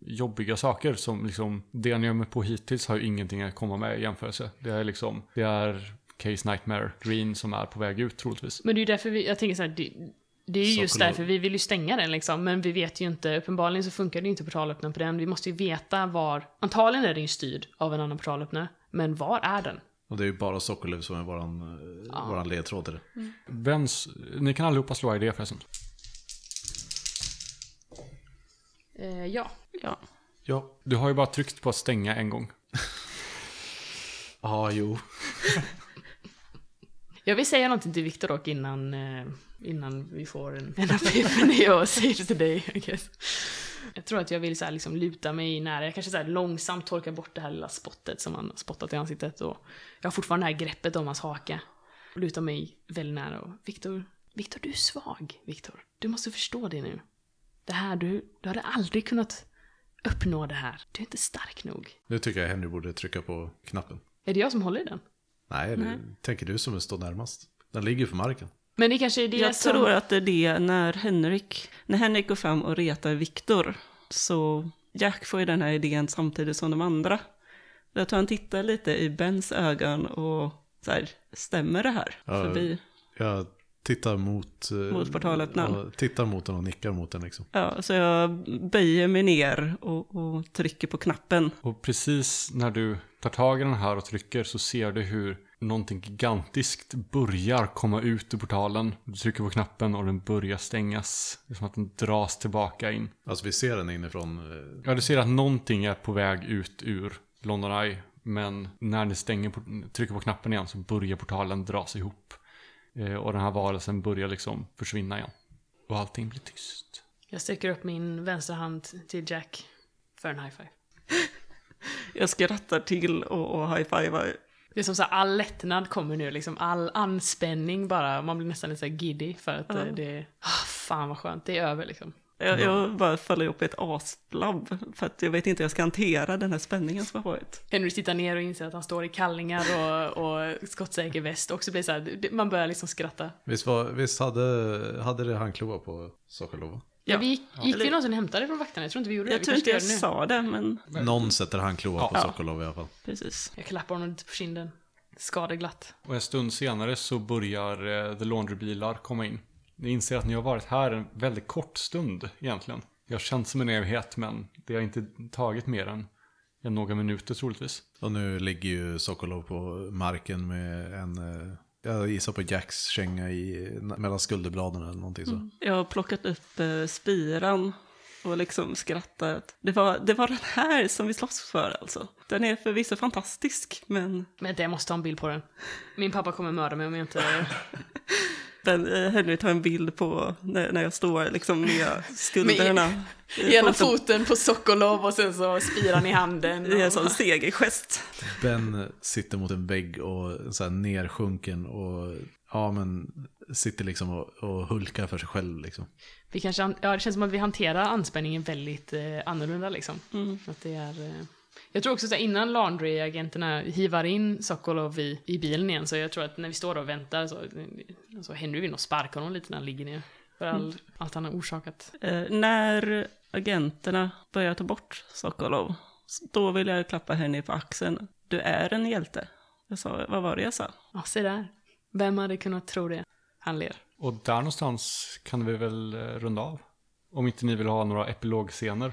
A: jobbiga saker som liksom det ni har med på hittills har ju ingenting att komma med i jämförelse. Det är liksom, det är Case Nightmare Green som är på väg ut troligtvis.
B: Men det är ju därför vi, jag tänker så här, det, det är ju just därför vi vill ju stänga den liksom. Men vi vet ju inte, uppenbarligen så funkar det ju inte portalöppnaren på den. Vi måste ju veta var, antagligen är den ju styrd av en annan portalöppnare. Men var är den?
C: Och det är ju bara Sokolov som är våran, eh, våran ledtråd till det.
A: Vems, ni kan allihopa slå idé förresten.
B: Eh, ja.
D: Ja.
C: Ja.
A: Du har ju bara tryckt på att stänga en gång.
C: Ja, ah, jo.
B: Jag vill säga någonting till Viktor dock innan, eh, innan vi får en, en epiphany och säger det till dig. I guess. Jag tror att jag vill så här liksom luta mig nära, jag kanske så här långsamt torkar bort det här lilla spottet som han har spottat i ansiktet. Och jag har fortfarande det här greppet om hans haka. Och lutar mig väldigt nära och Viktor, Viktor du är svag, Viktor. Du måste förstå det nu. Det här, du, du hade aldrig kunnat uppnå det här. Du är inte stark nog.
C: Nu tycker jag Henry borde trycka på knappen.
B: Är det jag som håller i den?
C: Nej, det tänker du som står närmast. Den ligger ju på marken.
B: Men det kanske är det
D: Jag
B: som...
D: tror att det är det när Henrik, när Henrik går fram och retar Viktor så Jack får ju den här idén samtidigt som de andra. Jag tror han tittar lite i Bens ögon och så här, stämmer det här?
C: Ja.
D: Förbi.
C: Jag tittar mot... eh,
D: Mot portalöppnaren.
C: ja, Tittar mot den och nickar mot den liksom.
D: Ja, så jag böjer mig ner och, och trycker på knappen.
A: Och precis när du tar tag i den här och trycker så ser du hur någonting gigantiskt börjar komma ut ur portalen. Du trycker på knappen och den börjar stängas. Det är som att den dras tillbaka in.
C: Alltså vi ser den inifrån. eh,
A: Ja, du ser att någonting är på väg ut ur London Eye. Men när ni stänger, port- trycker på knappen igen så börjar portalen dras ihop. Eh, och den här varelsen börjar liksom försvinna igen. Och allting blir tyst.
B: Jag sträcker upp min vänsterhand till Jack för en high five.
D: Jag skrattar till och, och high-fivar.
B: Det är som så här, all lättnad kommer nu, liksom all anspänning bara. Man blir nästan lite så här giddy för att eh, det är... ah fan vad skönt, det är över liksom.
D: Jag, jag bara faller ihop i ett asblabb för att jag vet inte hur jag ska hantera den här spänningen som har varit.
B: Henry tittar ner och inser att han står i kallingar och, och skottsäker väst. Och så blir det så här, det- man börjar liksom skratta.
C: Visst, var, visst hade, hade det handkloa på Sokolova?
B: Ja,
D: Ja.
B: vi gick, gick vi någonsin och hämtade från vakterna? Jag tror inte vi gjorde det.
D: Jag
B: Vi
D: tror
B: kanske
D: inte jag
B: ska göra det nu.
D: sa det, men
C: Någon sätter handkloa på
D: Ja.
C: Sokolov i alla fall.
D: precis.
B: Jag klappar honom lite på kinden. Skadeglatt.
A: Och en stund senare så börjar eh, The Laundry-bilar komma in. Ni inser att ni har varit här en väldigt kort stund egentligen. Jag har känt som en evighet men det har inte tagit mer än, än några minuter troligtvis.
C: Och nu ligger ju Sokolov på marken med en, eh, jag gissar på Jacks känga i, mellan skulderbladen eller någonting så.
D: Jag har plockat upp eh, spiran och liksom skrattat. Det var, det var den här som vi slåss för alltså. Den är förvisso fantastisk, men,
B: Men jag måste ta en bild på den. Min pappa kommer mörda mig om jag inte...
D: men eh, Henry tar en bild på när, när jag står liksom med skulderna. i
B: Ena
D: foten.
B: foten på Sokolov och sen så spiran i handen.
D: Det är en sån segergest.
C: Ben sitter mot en vägg och så här nersjunken och ja men sitter liksom och, och hulkar för sig själv liksom.
B: Vi kanske, han- ja, det känns som att vi hanterar anspänningen väldigt eh, annorlunda liksom. Att det är, eh... Jag tror också att innan Laundry-agenterna hivar in Sokolov i, i bilen igen, så jag tror att när vi står där och väntar så, eh, så Henry vill nog sparka honom lite när han ligger ner. För all, allt han har orsakat.
D: Eh, när agenterna börjar ta bort Sokolov, då vill jag klappa henne på axeln. Du är en hjälte. Jag sa, vad var det jag sa?
B: Ja, se där. Vem hade kunnat tro det? Han ler.
A: Och där någonstans kan vi väl eh, runda av. Om inte ni vill ha några epilogscener.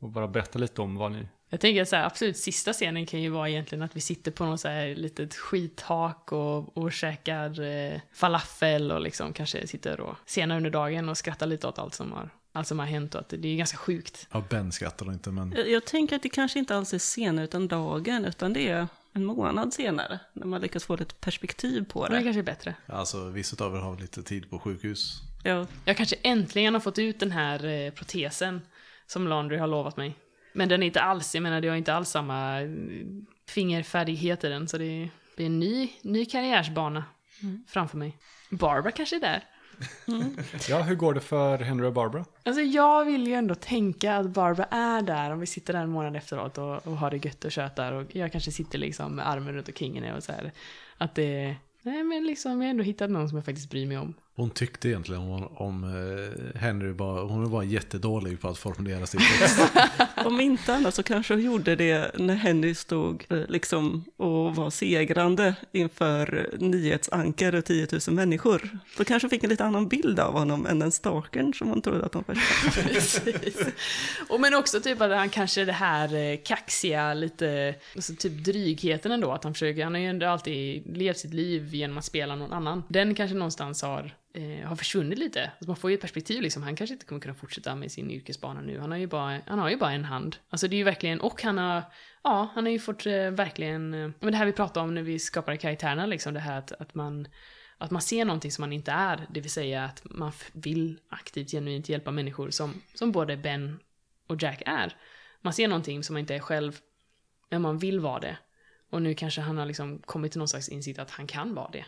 A: Och bara berätta lite om vad ni...
B: Jag tänker så här, absolut sista scenen kan ju vara egentligen att vi sitter på något så här litet skithak och, och käkar eh, falafel och liksom kanske sitter och senare under dagen och skrattar lite åt allt som har, allt som har hänt och att det, det är ju ganska sjukt.
C: Ja Ben skrattar nog inte men
D: Eh, Jag, jag tänker att det kanske inte alls är senare utan dagen, utan det är en månad senare. När man lyckas få lite perspektiv på
B: Men det
D: det.
B: kanske är bättre.
C: alltså vissa av er har lite tid på sjukhus.
D: Ja,
B: Jag kanske äntligen har fått ut den här eh, protesen som Laundry har lovat mig. Men den är inte alls, jag menar det har inte alls samma eh, fingerfärdighet i den så det blir en ny, ny karriärsbana framför mig. Barbara kanske är där.
A: Ja, hur går det för Henry och Barbara?
B: Alltså jag vill ju ändå tänka att Barbara är där om vi sitter där en månad efteråt och, och har det gött och tjötar och jag kanske sitter liksom med armen runt omkring henne och så här. Att det, nej men liksom jag har ändå hittat någon som jag faktiskt bryr mig om.
C: Hon tyckte egentligen om, om eh, Henry, bara, hon var bara jättedålig på att formulera sin text.
D: om inte annat så kanske hon gjorde det när Henry stod eh, liksom och var segrande inför nyhetsankar och 10 000 människor. Då kanske hon fick en lite annan bild av honom än den stalkern som hon trodde att hon först
B: Precis. Och men också typ att han kanske det här eh, kaxiga, lite, alltså typ drygheten ändå, att han försöker, han har ju ändå alltid levt sitt liv genom att spela någon annan. Den kanske någonstans har, eh, har försvunnit lite. Alltså man får ju ett perspektiv liksom, han kanske inte kommer kunna fortsätta med sin yrkesbana nu, han har ju bara, han har ju bara en hand. Alltså det är ju verkligen, och han har, ja, han har ju fått eh, verkligen, eh, men det här vi pratade om när vi skapade karaktärerna liksom, det här att, att man att man ser någonting som man inte är, det vill säga att man f- vill aktivt, genuint hjälpa människor som, som både Ben och Jack är. Man ser någonting som man inte är själv, men man vill vara det. Och nu kanske han har liksom kommit till någon slags insikt att han kan vara det.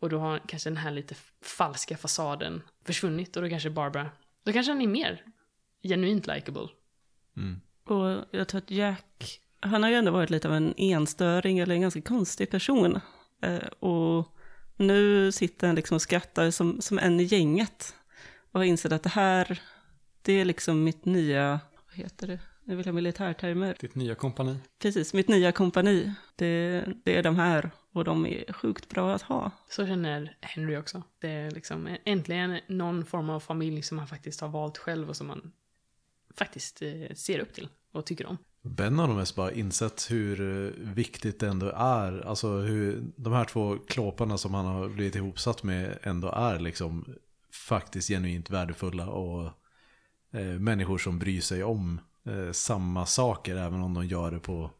B: Och då har kanske den här lite f- falska fasaden försvunnit och då kanske Barbara, då kanske han är mer genuint likable.
D: Och jag tror att Jack, han har ju ändå varit lite av en enstöring eller en ganska konstig person. Eh, och nu sitter han liksom och skrattar som, som en i gänget. Och har insett att det här, det är liksom mitt nya, vad heter det? Nu vill jag ha militärtermer.
A: Ditt nya kompani?
D: Precis, mitt nya kompani. Det, det är de här och de är sjukt bra att ha.
B: Så känner Henry också. Det är liksom äntligen någon form av familj som han faktiskt har valt själv och som man faktiskt eh, ser upp till och tycker om.
C: Ben har nog mest bara insett hur eh, viktigt det ändå är. Alltså hur de här två klåparna som han har blivit ihopsatt med ändå är liksom faktiskt genuint värdefulla och eh, människor som bryr sig om eh, samma saker även om de gör det på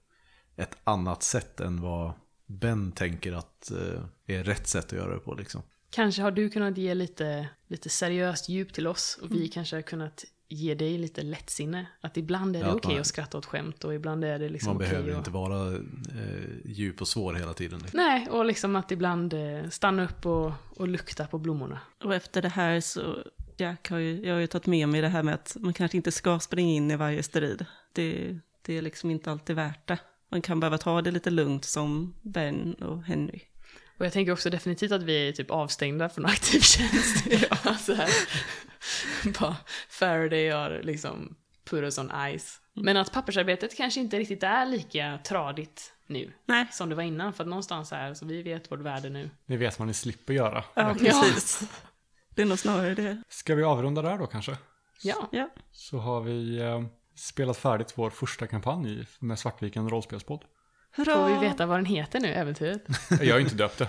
C: ett annat sätt än vad Ben tänker att eh, är rätt sätt att göra det på liksom.
B: Kanske har du kunnat ge lite, lite seriöst djup till oss och vi
C: Mm.
B: kanske har kunnat ge dig lite lättsinne. Att ibland är det
C: Ja, att
B: okej
C: man-
B: att skratta åt skämt och ibland är det liksom
C: Man
B: okej
C: behöver
B: att...
C: inte vara eh, djup och svår hela tiden. Liksom.
B: Nej, och liksom att ibland eh, stanna upp och, och lukta på blommorna.
D: Och efter det här så Jack har ju, jag har ju tagit med mig det här med att man kanske inte ska springa in i varje strid. Det, det är liksom inte alltid värt det. Man kan behöva ta det lite lugnt som Ben och Henry.
B: Och jag tänker också definitivt att vi är typ avstängda från aktiv tjänst. Ja, så här. Bara Faraday har liksom put us on ice. Men att pappersarbetet kanske inte riktigt är lika tradigt nu
D: Nej,
B: som det var innan. För att någonstans är så vi vet vårt värde nu.
A: Det vet man ni slipper göra.
D: ja
B: Ja.
D: precis. Det är nog snarare det.
A: Ska vi avrunda där då kanske?
B: Ja,
D: Ja,
A: Så har vi eh, spelat färdigt vår första kampanj i- med Svartviken rollspelspodd.
D: hurra!
B: får vi veta vad den heter nu, äventyret?
A: Jag har ju inte döpt det.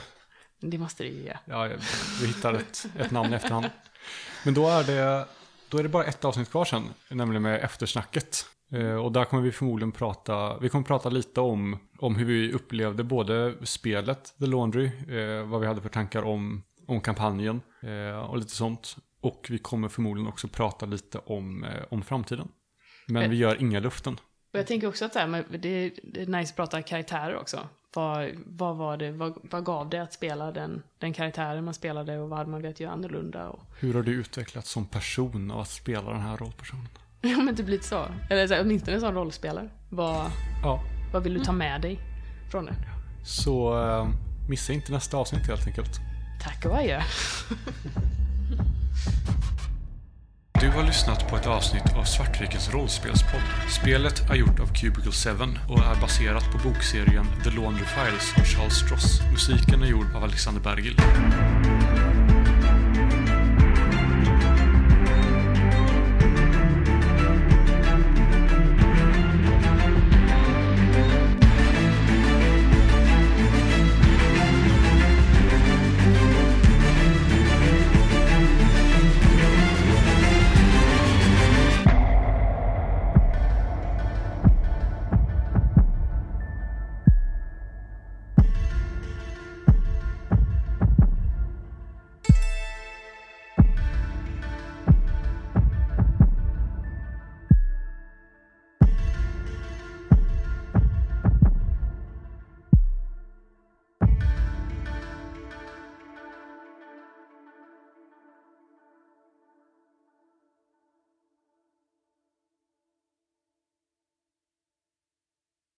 B: Det måste du ju göra.
A: Ja, jag- vi hittar ett, ett namn i efterhand. Men då är, det, då är det bara ett avsnitt kvar sen, nämligen med eftersnacket. Eh, och där kommer vi förmodligen prata, vi kommer prata lite om, om hur vi upplevde både spelet The Laundry, eh, vad vi hade för tankar om, om kampanjen eh, och lite sånt. Och vi kommer förmodligen också prata lite om, eh, om framtiden. Men vi gör inga luften.
B: Och jag tänker också att det, här med, det det är nice att prata karaktärer också. Vad, vad, var det, vad, vad gav det att spela den, den karaktären man spelade och vad hade man velat göra annorlunda? Och,
A: Hur har du utvecklats som person av att spela den här rollpersonen?
B: ja men typ lite så. Eller så här, åtminstone som rollspelare. Vad,
A: Ja,
B: vad vill du ta med dig från det?
A: så eh, missa inte nästa avsnitt helt enkelt.
B: Tack och adjö.
A: Du har lyssnat på ett avsnitt av Svartvikens rollspelspodd. Spelet är gjort av Cubicle 7 och är baserat på bokserien The Laundry Files av Charles Stross. Musiken är gjord av Alexander Bergil.